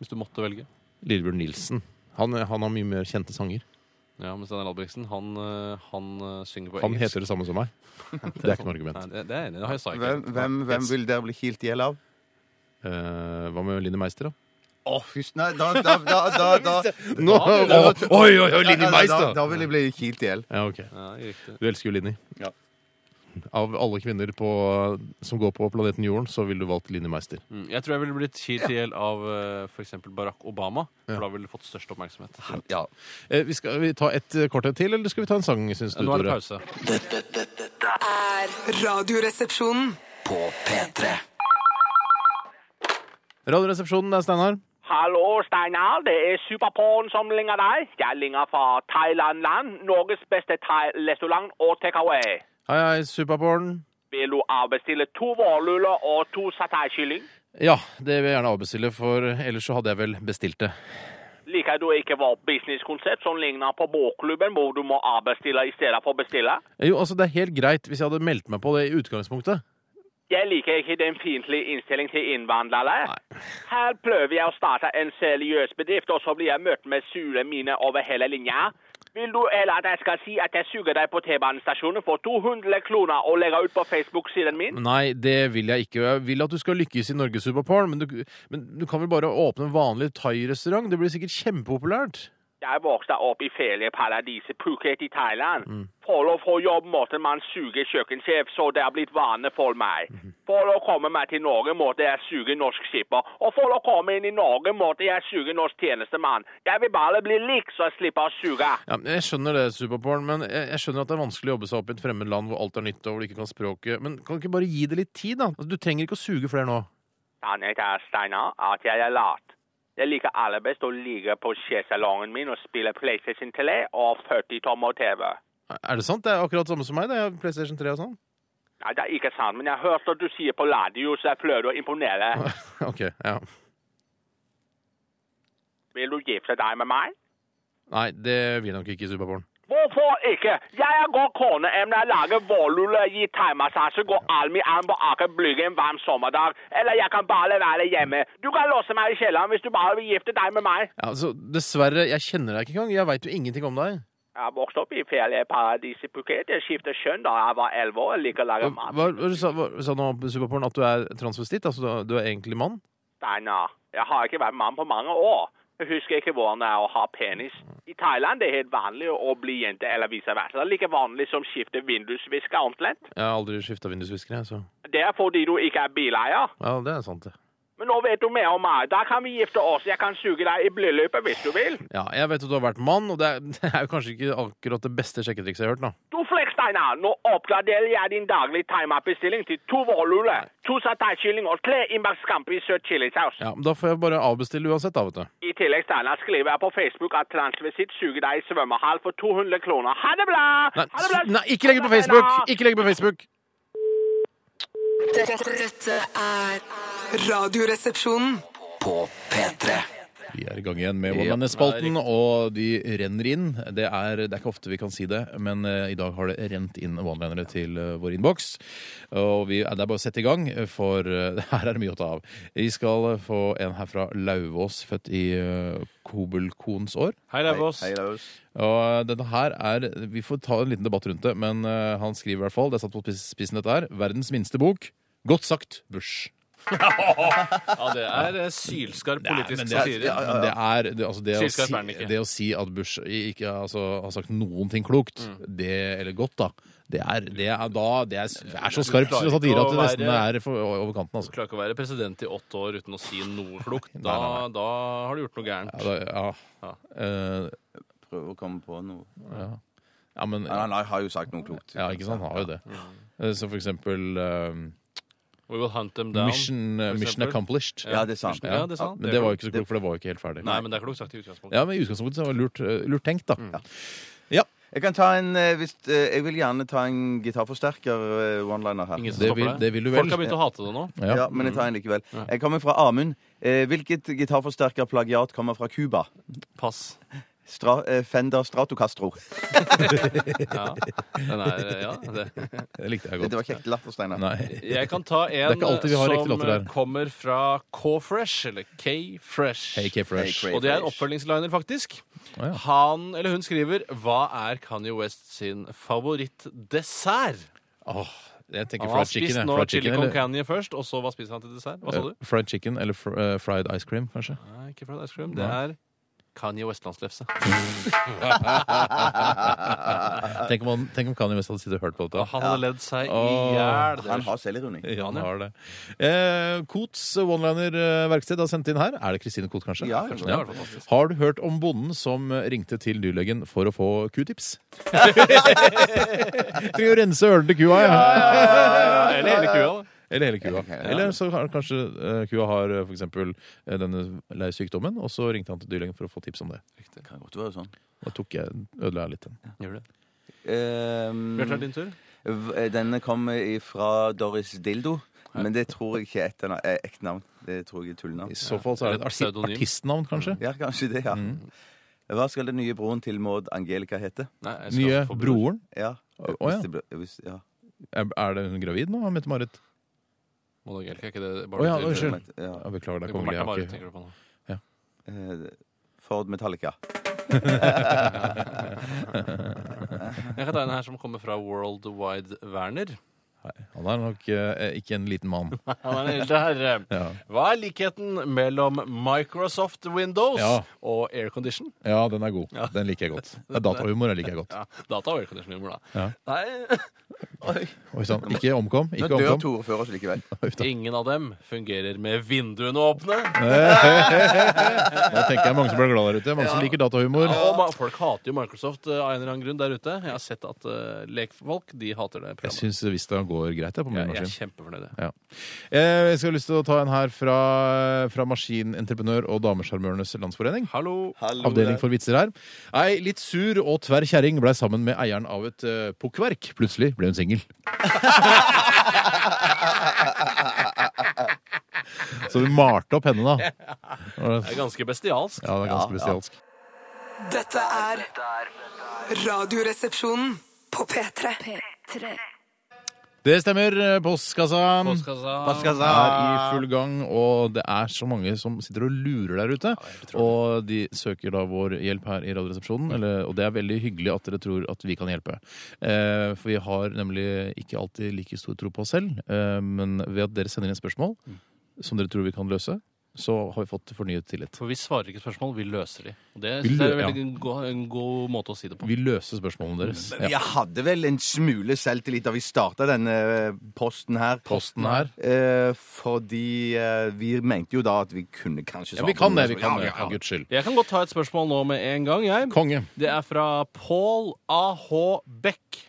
Speaker 4: Hvis du måtte velge.
Speaker 3: Lillebjørn Nilsen. Han, eh, han har mye mer kjente sanger.
Speaker 4: Ja, men Steinar Albrigtsen, han, eh, han eh, synger på
Speaker 3: Han
Speaker 4: engelsk.
Speaker 3: heter det samme som meg. Det er ikke noe argument.
Speaker 4: Nei, det, det er enig. Det har jeg sa ikke.
Speaker 5: Hvem, hvem, hvem vil dere bli kilt i hjel av?
Speaker 3: Eh, hva med Line Meister, da?
Speaker 5: Å, fyrst, nei, da, da, da, da, da,
Speaker 3: Nå, oi, oi, oi, Line
Speaker 5: da,
Speaker 3: Meister!
Speaker 5: da vil jeg bli kilt i hjel.
Speaker 3: Ja, ok.
Speaker 4: Ja, riktig.
Speaker 3: Du elsker jo Linni.
Speaker 5: Ja.
Speaker 3: Av alle kvinner på, som går på planeten Jorden, så ville du valgt Linni Meister.
Speaker 4: Mm, Jeg tror jeg ville blitt kilt i hjel av f.eks. Barack Obama. For da ville du fått størst oppmerksomhet.
Speaker 5: Ja.
Speaker 3: Eh, vi skal vi ta et eh, korthet til, eller skal vi ta en sang, syns du,
Speaker 4: Eh, Nå er det
Speaker 3: Tore?
Speaker 4: pause.
Speaker 6: Dette, dette, dette er
Speaker 1: Er Radioresepsjonen.
Speaker 6: på P3.
Speaker 3: Radioresepsjonen, det er Steinar.
Speaker 7: Hallo, Steinar. Det er Superporn som ringer deg. Jeg ringer fra Thailand-land, Norges beste thai-restaurant og takeaway.
Speaker 3: Hei, hei, Superporn.
Speaker 7: Vil du avbestille to vårluller og to satay-kylling?
Speaker 3: Ja, det vil jeg gjerne avbestille, for ellers så hadde jeg vel bestilt det.
Speaker 7: Liker du ikke vårt businesskonsept som ligner på bokklubben, hvor du må avbestille i stedet for bestille?
Speaker 3: Jo, altså, det er helt greit hvis jeg hadde meldt meg på det i utgangspunktet.
Speaker 7: Jeg liker ikke den fiendtlige innstillingen til innvandrere. Her prøver jeg å starte en seriøs bedrift, og så blir jeg møtt med sure miner over hele linja. Vil du eller at jeg skal si at jeg suger deg på T-banestasjonen for 200 kroner og legger ut på Facebook-siden min?
Speaker 3: Nei, det vil jeg ikke. Jeg vil at du skal lykkes i Norge, Superporn, men, du- men du kan vel bare åpne en vanlig thai-restaurant? Det blir sikkert kjempepopulært.
Speaker 7: Jeg vokste opp i ferieparadiset Phuket i Thailand. For å få jobb måtte man suge kjøkkensjef, så det er blitt vane for meg. For å komme meg til Norge måtte jeg suge norsk skipper, og for å komme inn i Norge måtte jeg suge norsk tjenestemann. Jeg vil bare bli lik, så jeg slipper å suge.
Speaker 3: Ja, men jeg skjønner det, Superporn, men jeg, jeg skjønner at det er vanskelig å jobbe seg opp i et fremmed land hvor alt er nytt og hvor du ikke kan språket. Men kan du ikke bare gi det litt tid, da? Altså, du trenger ikke å suge flere nå.
Speaker 7: Sannhet er, Steinar, at jeg er lat. Jeg liker aller best å ligge på skjesalongen min og spille PlayStation 3 og 40-tommer TV.
Speaker 3: Er det sant? Det er akkurat samme som meg, det. Jeg har PlayStation 3 og sånn. [LAUGHS]
Speaker 7: Nei, det er ikke sant, men jeg hørte at du sier på radio, så jeg prøvde å imponere.
Speaker 3: OK, ja.
Speaker 7: Vil du gifte deg med meg?
Speaker 3: Nei, det vil jeg nok ikke, Superporn.
Speaker 7: Hvorfor ikke? Jeg er god koneemne, lager vårlulle, gir thaimassasje, går arm i arm på Aker Brygge en varm sommerdag. Eller jeg kan bare være hjemme. Du kan låse meg i kjelleren hvis du bare vil gifte deg med meg.
Speaker 3: Ja, altså, dessverre, jeg kjenner deg ikke engang. Jeg veit jo ingenting om deg.
Speaker 7: Jeg vokste opp i ferieparadiset Phuket. Jeg skiftet kjønn da jeg var 11 år. Jeg liker å
Speaker 3: Hva,
Speaker 7: lage mat.
Speaker 3: hva, hva sa hva, sa du nå, Superporn, at du er transvestitt? Altså, du er- du er egentlig mann?
Speaker 7: Steinar, jeg har ikke vært mann på mange år. Jeg husker ikke hvordan det er å ha penis. I Thailand det er helt vanlig å bli jente eller vice versa. Det er like vanlig som skifte vindusvisker omtrent.
Speaker 3: Jeg har aldri skifta vindusviskere, jeg, så
Speaker 7: Det er fordi du ikke er bileier.
Speaker 3: Ja, det er sant, det.
Speaker 7: Men nå vet du mer om meg. Da kan vi gifte oss. Jeg kan suge deg i bryllupet hvis du vil.
Speaker 3: Ja, jeg vet at du har vært mann, og det er, [LAUGHS] det er jo kanskje ikke akkurat det beste sjekketrikset jeg har hørt, da.
Speaker 7: Du flekk, Steinar. Nå oppgraderer jeg din daglige timeout-bestilling til to vårluller, to satai-kylling og tre innbakt scampi i søt chilisaus.
Speaker 3: Ja, men Da får jeg bare avbestille uansett, da, vet du.
Speaker 7: I tillegg, Steinar, skriver jeg på Facebook at transvisitt suger deg i svømmehall for 200 kroner. Ha det bra!
Speaker 3: Nei,
Speaker 7: ha det bra!
Speaker 3: s- nei ikke legg det på Facebook! Ikke legg det på Facebook!
Speaker 1: Dette, dette er Radioresepsjonen.
Speaker 6: På P3.
Speaker 8: Vi er i gang igjen med One Man-spalten, og de renner inn. Det er, det er ikke ofte vi kan si det, men eh, i dag har det rent inn one-linere til eh, vår innboks. Og vi, eh, det er bare å sette i gang, for eh, [LAUGHS] her er det mye å ta av. Vi skal eh, få en her fra Lauvås, født i eh, Kobelkons år.
Speaker 4: Hei, Lauvås.
Speaker 5: Hei, Laus.
Speaker 8: Og eh, denne her er Vi får ta en liten debatt rundt det, men eh, han skriver i hvert fall Det er satt på spiss- spissen dette her. Verdens minste bok. Godt sagt, Bush.
Speaker 4: Ja, det er eh, sylskarp politisk
Speaker 3: men det er-
Speaker 4: satire.
Speaker 5: ja, ja.
Speaker 3: Men det er det, altså det, å
Speaker 4: Sylskarp er den
Speaker 3: si,
Speaker 4: ikke.
Speaker 3: det å si at Bush ikke altså, har sagt noen ting klokt, det, eller godt, da det er, det er, da, det er, det er så skarp
Speaker 4: klarer ikke
Speaker 3: satire at det
Speaker 4: å
Speaker 3: nesten
Speaker 4: være-
Speaker 3: er for, over kanten. Altså.
Speaker 4: Klarer ikke å være president i åtte år uten å si noe klokt. Da, da har du gjort noe
Speaker 3: Ja,
Speaker 4: gærent.
Speaker 3: da, ja.
Speaker 4: Ja.
Speaker 3: Eh,
Speaker 5: Prøve å komme på noe.
Speaker 3: ja, men
Speaker 5: Ja, han har jo sagt noe klokt.
Speaker 3: Ja, ikke sant? Han har jo det. Eh, Så for eksempel eh,
Speaker 4: We will hunt them down.
Speaker 3: Mission, eh,
Speaker 4: for
Speaker 3: mission
Speaker 4: eksempel.
Speaker 3: Accomplished.
Speaker 5: Ja, det er sant.
Speaker 4: Ja, det er sant.
Speaker 3: Men det var jo ikke så klokt, for det var jo ikke helt ferdig.
Speaker 4: Nei, men det er klokt sagt i utgangspunktet.
Speaker 3: Ja, men i utgangspunktet så var det lurt, eh, lurt tenkt, da.
Speaker 5: Jeg kan ta en eh, hvis, eh, Jeg vil gjerne ta en gitarforsterker eh, one-liner her.
Speaker 4: Ingen som
Speaker 3: Det
Speaker 4: stopper
Speaker 3: vil,
Speaker 4: deg.
Speaker 3: det vil du vel.
Speaker 4: Folk har begynt å hate det nå.
Speaker 3: Ja.
Speaker 5: Ja, men jeg tar en likevel. Jeg kommer fra Amund. Eh, Hvilket gitarforsterkerplagiat kommer fra Cuba?
Speaker 4: Pass.
Speaker 5: Stra eh, Fender Stratocastro.
Speaker 4: Ja. Den er, eh, ja, det.
Speaker 3: Det likte
Speaker 5: [LAUGHS] Det
Speaker 3: jeg godt.
Speaker 5: var kjekt latter, Steinar.
Speaker 3: Nei.
Speaker 4: Jeg kan ta en eh,
Speaker 3: ikke alltid vi har riktig
Speaker 4: som
Speaker 3: låter der.
Speaker 4: kommer fra K-Fresh, eller K-Fresh.
Speaker 3: Hey, K-Fresh.
Speaker 5: Hey,
Speaker 4: Og det er en oppfølgingsliner, faktisk.
Speaker 3: Å, ja.
Speaker 4: Han eller hun skriver Hva er Kanye West sin favorittdessert?
Speaker 3: Åh, jeg tenker
Speaker 4: Han har
Speaker 3: fried chicken.
Speaker 4: spist
Speaker 3: jeg.
Speaker 4: nå
Speaker 3: Fried
Speaker 4: chili
Speaker 3: chicken,
Speaker 4: con
Speaker 3: eller,
Speaker 4: Kanye først, og så hva spiser han til dessert? Hva sa du?
Speaker 3: eh, fried chicken eller fr eh, fried ice cream, kanskje.
Speaker 4: Nei, ikke fried ice cream. Det er Kanye Westlandslefse.
Speaker 3: Tenk om, han- tenk om Kanye West hadde sittet og hørt på dette.
Speaker 4: Han hadde ledd seg i
Speaker 3: Åh,
Speaker 4: hjel.
Speaker 5: Han
Speaker 4: Det
Speaker 5: har selvironi.
Speaker 3: Ja, han har det. Eh, Kots one-liner-verksted har sendt inn her. Er det Kristine Kot, kanskje?
Speaker 5: Ja,
Speaker 3: kanskje
Speaker 5: kanskje
Speaker 4: det er fantastisk.
Speaker 3: Har du hørt om bonden som eh, ringte til dyrlegen for å få q-tips?
Speaker 4: [LAUGHS]
Speaker 3: Trenger å rense ørene til kua, jeg.
Speaker 4: er Eller hele kua. da.
Speaker 3: Eller hele kua. Eller så har, kanskje eh, kua har eh, for eksempel eh, denne leirsykdommen, og så ringte han til dyrlegen for å få tips om det.
Speaker 5: Kan godt være sånn.
Speaker 3: Da tok jeg, ødela jeg litt den.
Speaker 4: Gjør det.
Speaker 5: Ehm,
Speaker 4: Bjarte, er det din tur?
Speaker 5: v- eh, denne kommer fra Doris Dildo. Men det tror jeg ikke er et- eh, ekte navn. Det tror jeg er tullenavn.
Speaker 3: I så fall så er det et arti
Speaker 4: Pseudonym.
Speaker 3: artistnavn, kanskje.
Speaker 5: Ja, kanskje det, ja.
Speaker 3: Mm.
Speaker 5: Hva skal den nye broren til Maud Angelica hete?
Speaker 4: Nei, jeg skal
Speaker 3: Nye
Speaker 4: få bror.
Speaker 3: broren.
Speaker 5: Ja.
Speaker 3: Å, å, ja.
Speaker 5: Hvis det ble- hvis- ja.
Speaker 3: Er er det hun gravid nå, Mette-Marit?
Speaker 4: Må dere ikke, er ikke det
Speaker 3: Å,
Speaker 4: bare
Speaker 3: ja,
Speaker 4: til-
Speaker 3: unnskyld.
Speaker 5: ja.
Speaker 3: Ja, beklager, det
Speaker 4: Det
Speaker 3: er
Speaker 4: går
Speaker 3: kongelig.
Speaker 4: Martha
Speaker 3: jeg har
Speaker 4: Marit,
Speaker 3: ikke-
Speaker 4: tenker du på nå.
Speaker 5: Eh, Ford Metallica.
Speaker 4: Jeg kan ta en her som kommer fra World Wide Werner.
Speaker 3: Han er nok eh, ikke en liten mann.
Speaker 4: [LAUGHS] Han er en eldre herre.
Speaker 3: Ja.
Speaker 4: Hva er likheten mellom Microsoft Windows
Speaker 3: Ja.
Speaker 4: og aircondition?
Speaker 3: Ja, den er god. Den liker jeg
Speaker 4: [LAUGHS]
Speaker 3: godt. Ja, Datahumor liker jeg godt.
Speaker 4: Ja, data og aircondition-humor, da.
Speaker 3: Ja.
Speaker 4: Nei,
Speaker 3: Oi sann. Ikke omkom.
Speaker 5: Nå
Speaker 3: Ikke
Speaker 5: dør
Speaker 3: omkom.
Speaker 5: Tore før oss likevel.
Speaker 4: ingen av dem fungerer med vinduene åpne.
Speaker 3: Nå tenker jeg mange som blir glad der ute. Mange som liker datahumor.
Speaker 4: Og ma- folk hater jo Microsoft eh, av en eller annen grunn der ute. Jeg har sett at eh, lekfolk de hater det
Speaker 3: Jeg
Speaker 4: programmet.
Speaker 3: syns Vista går greit, jeg, på min
Speaker 4: Jeg, jeg er
Speaker 3: maskin.
Speaker 4: kjempefornøyd. jeg.
Speaker 3: Ja. Eh, Jeg skal ha lyst til å ta en her fra, fra Maskinentreprenør og Damesjarmørenes Landsforening.
Speaker 4: Hallo.
Speaker 3: Avdeling for vitser her. Ei litt sur og tverr kjerring blei sammen med eieren av et eh, pukkverk. Plutselig ble hun [LAUGHS] singel. Så du malte opp henne, [LAUGHS] da.
Speaker 4: Det er ganske bestialsk.
Speaker 3: Ja, det er ganske bestialsk.
Speaker 1: Dette er Radioresepsjonen på P3.
Speaker 3: Det stemmer. eh, Postkassa
Speaker 4: Postkassa.
Speaker 3: er
Speaker 4: Ah.
Speaker 3: i full gang, og det er så mange som sitter og lurer der ute. Og de søker da vår hjelp her i Radioresepsjonen, eller, og det er veldig hyggelig at dere tror at vi kan hjelpe. Eh, for vi har nemlig ikke alltid like stor tro på oss selv, eh, men ved at dere sender inn spørsmål som dere tror vi kan løse, så har vi fått fornyet tillit.
Speaker 4: For vi svarer ikke spørsmål, vi løser de. Og det
Speaker 3: Vi
Speaker 4: synes jeg er
Speaker 3: lø-
Speaker 4: veldig en god, en god måte å si det på.
Speaker 3: Vi løser spørsmålene deres. Ja.
Speaker 5: Jeg hadde vel en smule selvtillit da vi starta denne eh, posten her.
Speaker 3: Posten her.
Speaker 5: Eh, fordi eh, vi mente jo da at vi kunne kanskje
Speaker 3: Ja,
Speaker 5: svare
Speaker 3: vi
Speaker 5: på
Speaker 3: kan
Speaker 5: noe
Speaker 3: det,
Speaker 5: som-
Speaker 3: vi
Speaker 5: Ja,
Speaker 3: kan det,
Speaker 5: ja,
Speaker 3: for guds skyld.
Speaker 4: Jeg kan godt ta et spørsmål nå med en gang. jeg.
Speaker 3: Konge.
Speaker 4: Det er fra Paul A.H. Beck.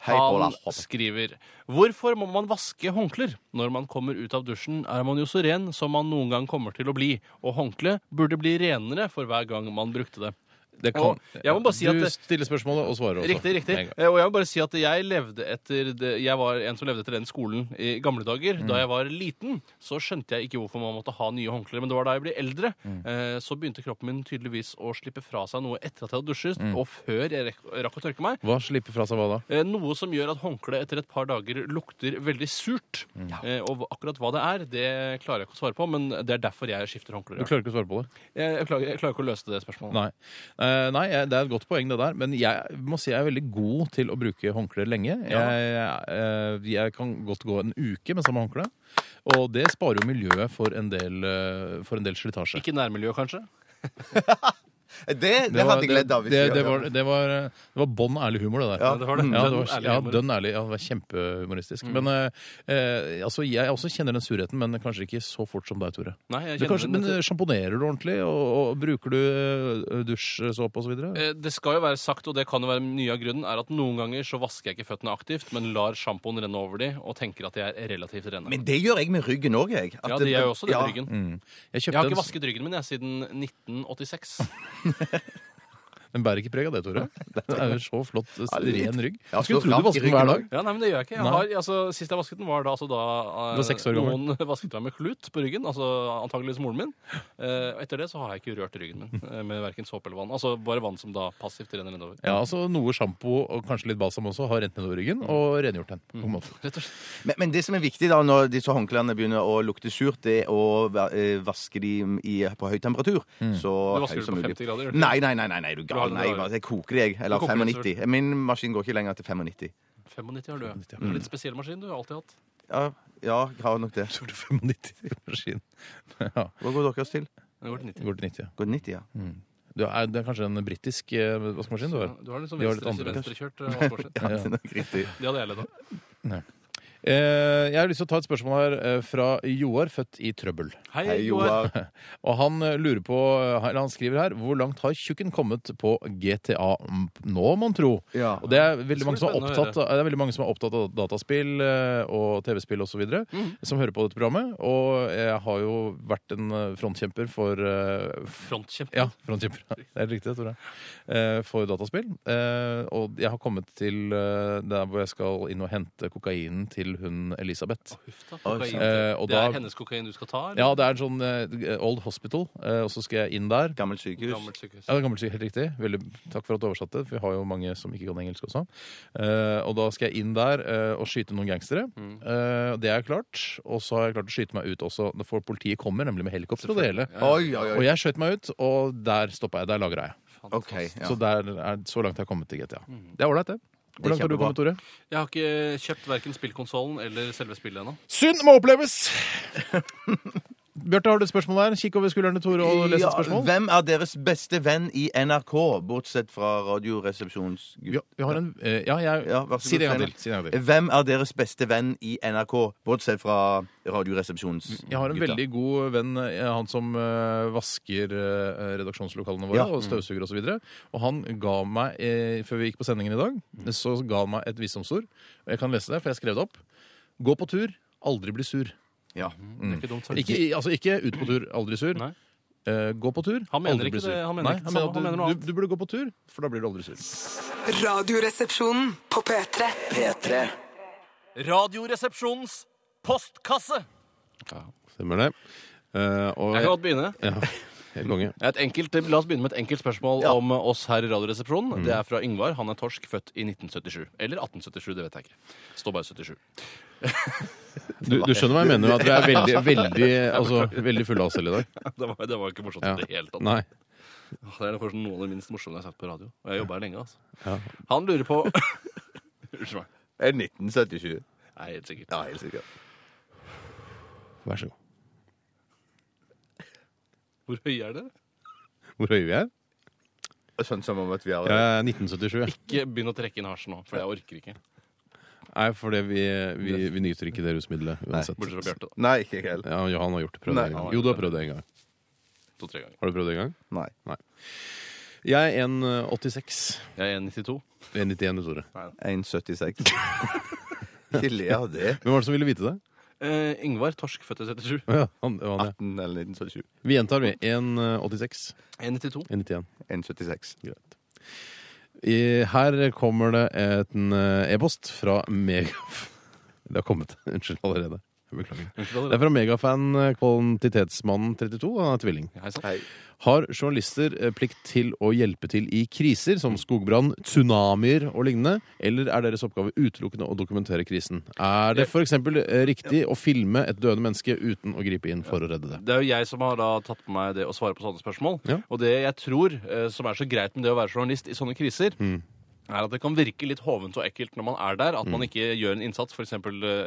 Speaker 5: Hei, Paul
Speaker 4: Han
Speaker 5: A.H..
Speaker 4: skriver Hvorfor må man vaske håndklær? Når man kommer ut av dusjen, er man jo så ren som man noen gang kommer til å bli, og håndkleet burde bli renere for hver gang man brukte det.
Speaker 3: Det kan,
Speaker 4: Og jeg må bare si at
Speaker 3: du
Speaker 4: det-
Speaker 3: stiller spørsmålet og svarer også.
Speaker 4: Riktig, riktig.
Speaker 3: Med en gang.
Speaker 4: Eh, Og jeg vil bare si at jeg levde etter det, Jeg var en som levde etter den skolen i gamle dager. Da jeg var liten, så skjønte jeg ikke hvorfor man måtte ha nye håndklær. Men det var da jeg ble eldre.
Speaker 3: Mm.
Speaker 4: eh, Så begynte kroppen min tydeligvis å slippe fra seg noe etter at jeg hadde dusjet,
Speaker 3: Mm.
Speaker 4: og før jeg rekk, rakk å tørke meg.
Speaker 3: Hva slipper fra seg hva da?
Speaker 4: Eh, Noe som gjør at håndkleet etter et par dager lukter veldig surt.
Speaker 3: Mm.
Speaker 4: Eh, Og hva- akkurat hva det er, det klarer jeg ikke å svare på, men det er derfor jeg skifter
Speaker 3: Du
Speaker 4: håndklær.
Speaker 3: klarer ikke å svare på det?
Speaker 4: Jeg, jeg, klarer, jeg klarer ikke å løse det spørsmålet.
Speaker 3: Nei. Eh, Eh, nei, jeg- det er et godt poeng, det der. Men jeg må si jeg er veldig god til å bruke håndklær lenge. Jeg, eh, jeg kan godt gå en uke med samme håndkle. Og det sparer jo miljøet for en del, eh, for en del slitasje.
Speaker 4: Ikke nærmiljø, kanskje?
Speaker 5: Det, det,
Speaker 3: var-
Speaker 5: hadde jeg ledd av. hvis
Speaker 3: Det,
Speaker 5: jeg
Speaker 3: det,
Speaker 5: hadde-
Speaker 3: var, det, var, eh, det var bånn ærlig humor, det der.
Speaker 5: Ja,
Speaker 4: det var det.
Speaker 3: Ja, det var,
Speaker 4: Dønn Mm. ærlig
Speaker 3: ja,
Speaker 4: humor.
Speaker 3: dønn ærlig. Ja, det var kjempehumoristisk. Men eh, eh, altså, jeg også kjenner den surheten, men kanskje ikke så fort som deg, Tore.
Speaker 4: Nei, jeg
Speaker 3: Du
Speaker 4: kjenner
Speaker 3: kanskje,
Speaker 4: den.
Speaker 3: men eh, sjamponerer du ordentlig, og, og bruker du eh, dusjsåpe osv.?
Speaker 4: Eh, Det skal jo være sagt, og det kan jo være mye av grunnen, er at noen ganger så vasker jeg ikke føttene aktivt, men lar sjampoen renne over de og tenker at de er relativt rene.
Speaker 5: Men det gjør jeg med ryggen òg, jeg. At
Speaker 4: ja, det gjør jo også det
Speaker 5: ja.
Speaker 4: med ryggen.
Speaker 3: Mm. Jeg
Speaker 4: Jeg har
Speaker 3: kjøpte
Speaker 4: ikke
Speaker 3: en
Speaker 4: vasket ryggen min jeg, siden 1986.
Speaker 3: Den bærer ikke preg av det, Tore. Den er jo så flott, eh,
Speaker 5: Ja, litt.
Speaker 3: ren rygg.
Speaker 5: Ja,
Speaker 3: Jeg skulle
Speaker 5: så
Speaker 3: tro
Speaker 5: rank i
Speaker 3: du vasket den
Speaker 5: ryggen
Speaker 3: hver dag.
Speaker 4: Ja, nei, men det gjør jeg ikke. Jeg
Speaker 3: Nei.
Speaker 4: har, altså, sist jeg vasket den, var da, altså, da eh,
Speaker 3: Du var seks år gammel.
Speaker 4: noen [LAUGHS] vasket meg med klut på ryggen. Altså antakeligvis moren min. Eh, Og etter det så har jeg ikke rørt ryggen
Speaker 3: [LAUGHS]
Speaker 4: min eh, med verken såpe eller vann. Altså bare vann som da passivt renner nedover.
Speaker 3: Ja, altså Noe sjampo og kanskje litt balsam også har rent nedover ryggen og rengjort den.
Speaker 5: Mm.
Speaker 3: på en måte.
Speaker 4: Rett og slett.
Speaker 5: Men, men det som er viktig da når disse håndklærne begynner å lukte surt, det er å va- eh, vaske de i, på høy temperatur. Så
Speaker 4: Du vasker
Speaker 5: høy
Speaker 4: det
Speaker 5: som
Speaker 4: på
Speaker 5: mulig.
Speaker 4: 50 grader, gjør du ikke?
Speaker 5: Nei, nei, nei, nei, nei, du er
Speaker 4: har
Speaker 5: gal.
Speaker 4: det,
Speaker 5: Nei,
Speaker 4: du har det.
Speaker 5: jeg koker det, jeg. Eller
Speaker 4: Du koker det,
Speaker 5: 95. Min maskin går ikke lenger til 95.
Speaker 4: 95 har du, ja. En Litt spesiell maskin du har alltid hatt.
Speaker 5: Ja, ja jeg har nok det.
Speaker 3: Tror du 95 maskin [LAUGHS] ja,
Speaker 5: Hva går deres til?
Speaker 4: Den går til 90.
Speaker 3: går til 90? Ja.
Speaker 5: Går det 90, ja.
Speaker 3: Du er, det er kanskje en britisk eh, vaskemaskin du har?
Speaker 4: Du har en sånn
Speaker 3: Vi har litt
Speaker 4: venstre,
Speaker 3: andre.
Speaker 4: venstrekjørt eh,
Speaker 3: [LAUGHS]
Speaker 4: vaskemaskin.
Speaker 5: ja det er nok riktig.
Speaker 4: Det hadde jeg ledd av.
Speaker 3: Eh, jeg har lyst til å ta et spørsmål her eh, fra Joar, født i trøbbel.
Speaker 4: Hei,
Speaker 5: Hei,
Speaker 4: Joar. [LAUGHS]
Speaker 5: Joar.
Speaker 3: Og han eh, lurer på, eller han skriver her, hvor langt har tjukken kommet på GTA m- nå, mon tro?
Speaker 5: Ja.
Speaker 3: Og det er, veldig
Speaker 4: Det
Speaker 3: mange
Speaker 4: skal
Speaker 3: som
Speaker 4: bli
Speaker 3: er opptatt, av- det er veldig mange som er opptatt av dataspill eh, og TV-spill osv., videre
Speaker 4: Mhm.
Speaker 3: som hører på dette programmet. Og jeg har jo vært en eh, frontkjemper for eh,
Speaker 4: Frontkjempe.
Speaker 3: Ja, frontkjemper. [LAUGHS] Det er helt riktig, Tore. Eh, for dataspill. Eh, og jeg har kommet til eh, der hvor jeg skal inn og hente kokainen til hun Elisabeth.
Speaker 4: Huff da, kokain.
Speaker 3: Eh, og
Speaker 4: det
Speaker 3: da-
Speaker 4: er hennes kokain du skal ta? eller?
Speaker 3: Ja, det er en sånn eh, Old Hospital, eh, og så skal jeg inn der.
Speaker 5: Gammelt sykehus.
Speaker 4: Gammelt sykehus.
Speaker 3: Ja, det er gammelt syk, helt riktig. Veldig, takk for at du oversatte, for vi har jo mange som ikke kan engelsk også. Eh, og da skal jeg inn der eh, og skyte noen gangstere.
Speaker 5: Mm.
Speaker 3: Eh, det er klart. Og så har jeg klart å skyte meg ut også, for politiet kommer nemlig med helikopter og det hele.
Speaker 5: Oi, oi,
Speaker 3: Og
Speaker 5: oi.
Speaker 3: jeg skjøt meg ut, og der stoppa jeg. Der lagra jeg.
Speaker 5: OK. Ja. Mm.
Speaker 3: Så der er så langt jeg har kommet til GTA. Det er ålreit, det. Hvor
Speaker 5: Det er
Speaker 3: langt har du
Speaker 5: kjempebra.
Speaker 3: kommet, Tore?
Speaker 4: Jeg har ikke kjøpt verken spillkonsollen eller selve spillet ennå.
Speaker 3: Synd må oppleves! [LAUGHS] Bjarte, har du et spørsmål der? Kikk over skulderen til Tore og les
Speaker 5: Ja,
Speaker 3: et spørsmål.
Speaker 5: hvem er deres beste venn i NRK, bortsett fra Radioresepsjonsgutt?
Speaker 3: Ja, vi har en, eh, ja, jeg,
Speaker 5: Ja, vær så
Speaker 3: si det en
Speaker 5: god, Steinar.
Speaker 3: gang til. Si det en gang til.
Speaker 5: Hvem er deres beste venn i NRK, bortsett fra Radioresepsjons...
Speaker 3: Jeg har en veldig god venn, eh, han som eh, vasker eh, redaksjonslokalene våre
Speaker 5: Ja.
Speaker 3: og støvsuger osv. Og, så videre. og han ga meg, eh, før vi gikk på sendingen i dag,
Speaker 9: Mm.
Speaker 3: så ga han meg et visdomsord. Og jeg kan lese det, for jeg skrev det opp. Gå på tur, aldri bli sur.
Speaker 5: Ja.
Speaker 4: Det er ikke dumt sagt.
Speaker 3: Ikke, altså, ikke ut på tur, aldri sur.
Speaker 4: Nei.
Speaker 3: Eh, gå på tur,
Speaker 4: Han mener
Speaker 3: aldri
Speaker 4: ikke
Speaker 3: bli sur.
Speaker 4: det- han mener
Speaker 3: Nei,
Speaker 4: ikke det samme,
Speaker 3: at
Speaker 4: han
Speaker 3: du-
Speaker 4: mener noe annet.
Speaker 3: du, du burde gå på tur, for da blir du aldri sur.
Speaker 1: Radioresepsjonen på P3.
Speaker 2: P3.
Speaker 4: Radioresepsjonens postkasse!
Speaker 9: Stemmer det. Eh, og,
Speaker 4: Jeg kan godt begynne.
Speaker 9: ja, helt
Speaker 4: [LAUGHS]
Speaker 9: konge.
Speaker 4: Et enkelt, la oss begynne med et enkelt spørsmål om oss her i Radioresepsjonen. Det er fra Yngvar. Han er torsk, født i 1977. Eller 1877, det vet jeg ikke. Står bare [LAUGHS] 77.
Speaker 9: Du, du skjønner hva jeg mener? At vi er
Speaker 4: [LAUGHS]
Speaker 9: veldig, veldig, altså, veldig fulle av oss selv i dag.
Speaker 4: Det var, det var ikke morsomt i
Speaker 9: Ja.
Speaker 4: det hele tatt.
Speaker 9: Nei.
Speaker 4: Det er kanskje noe av det minst morsomme jeg har sagt på radio. Og jeg jobber her lenge, altså. Han lurer på [LAUGHS] Unnskyld meg.
Speaker 5: Er det 1977.
Speaker 4: Nei, helt sikkert.
Speaker 5: Ja, helt sikkert.
Speaker 9: Vær så god.
Speaker 4: Hvor høye er dere?
Speaker 9: Hvor høye vi er?
Speaker 5: Sånn som om at vi har
Speaker 9: Jeg er 1977.
Speaker 4: Ikke begynn å trekke inn hasjen nå, for jeg orker ikke.
Speaker 9: Nei, fordi vi, vi, vi nyter ikke det rusmiddelet uansett.
Speaker 4: Bortsett fra Bjarte, da.
Speaker 5: Nei, ikke helt.
Speaker 9: Ja, Johan har gjort det. Prøvd det
Speaker 5: Nei.
Speaker 9: en gang. Jo, du har prøvd det en gang.
Speaker 4: To-tre ganger.
Speaker 9: Har du prøvd det en gang?
Speaker 5: Nei.
Speaker 9: Jeg er eh, 1,86.
Speaker 4: Jeg er 1,92.
Speaker 9: 1,91 du, Tore.
Speaker 5: [LAUGHS] 1,76. Ikke le av det.
Speaker 9: Hvem var det som ville vite det?
Speaker 4: Eh, Yngvar Torsk, født i 77.
Speaker 9: Å Ja, han, det var han, ja.
Speaker 5: 18 eller 1977.
Speaker 9: Vi gjentar, vi. eh, 1,86.
Speaker 4: 1,92.
Speaker 9: 1,91.
Speaker 5: 1,76.
Speaker 9: Greit. I, her [LAUGHS] kommer det et- en eh, e-post fra Megaf. Det har kommet, unnskyld, allerede.
Speaker 3: Jeg beklager. Det
Speaker 4: Unnskyld,
Speaker 3: er fra megafan eh, Kvantitetsmannen 32. Han er tvilling.
Speaker 4: Adrian.
Speaker 3: Har journalister eh, plikt til å hjelpe til i kriser som skogbrann, tsunamier og lignende, eller er deres oppgave utelukkende å dokumentere krisen? Er det f.eks. riktig å filme et døende menneske uten å gripe inn for å redde det?
Speaker 4: Det er jo jeg som har da tatt på meg det å svare på sånne spørsmål.
Speaker 3: Ja.
Speaker 4: Og det jeg tror eh, som er så greit med det å være journalist i sånne kriser,
Speaker 3: Mm.
Speaker 4: er at det kan virke litt hovent og ekkelt når man er der, at
Speaker 3: Mm.
Speaker 4: man ikke gjør en innsats, f.eks.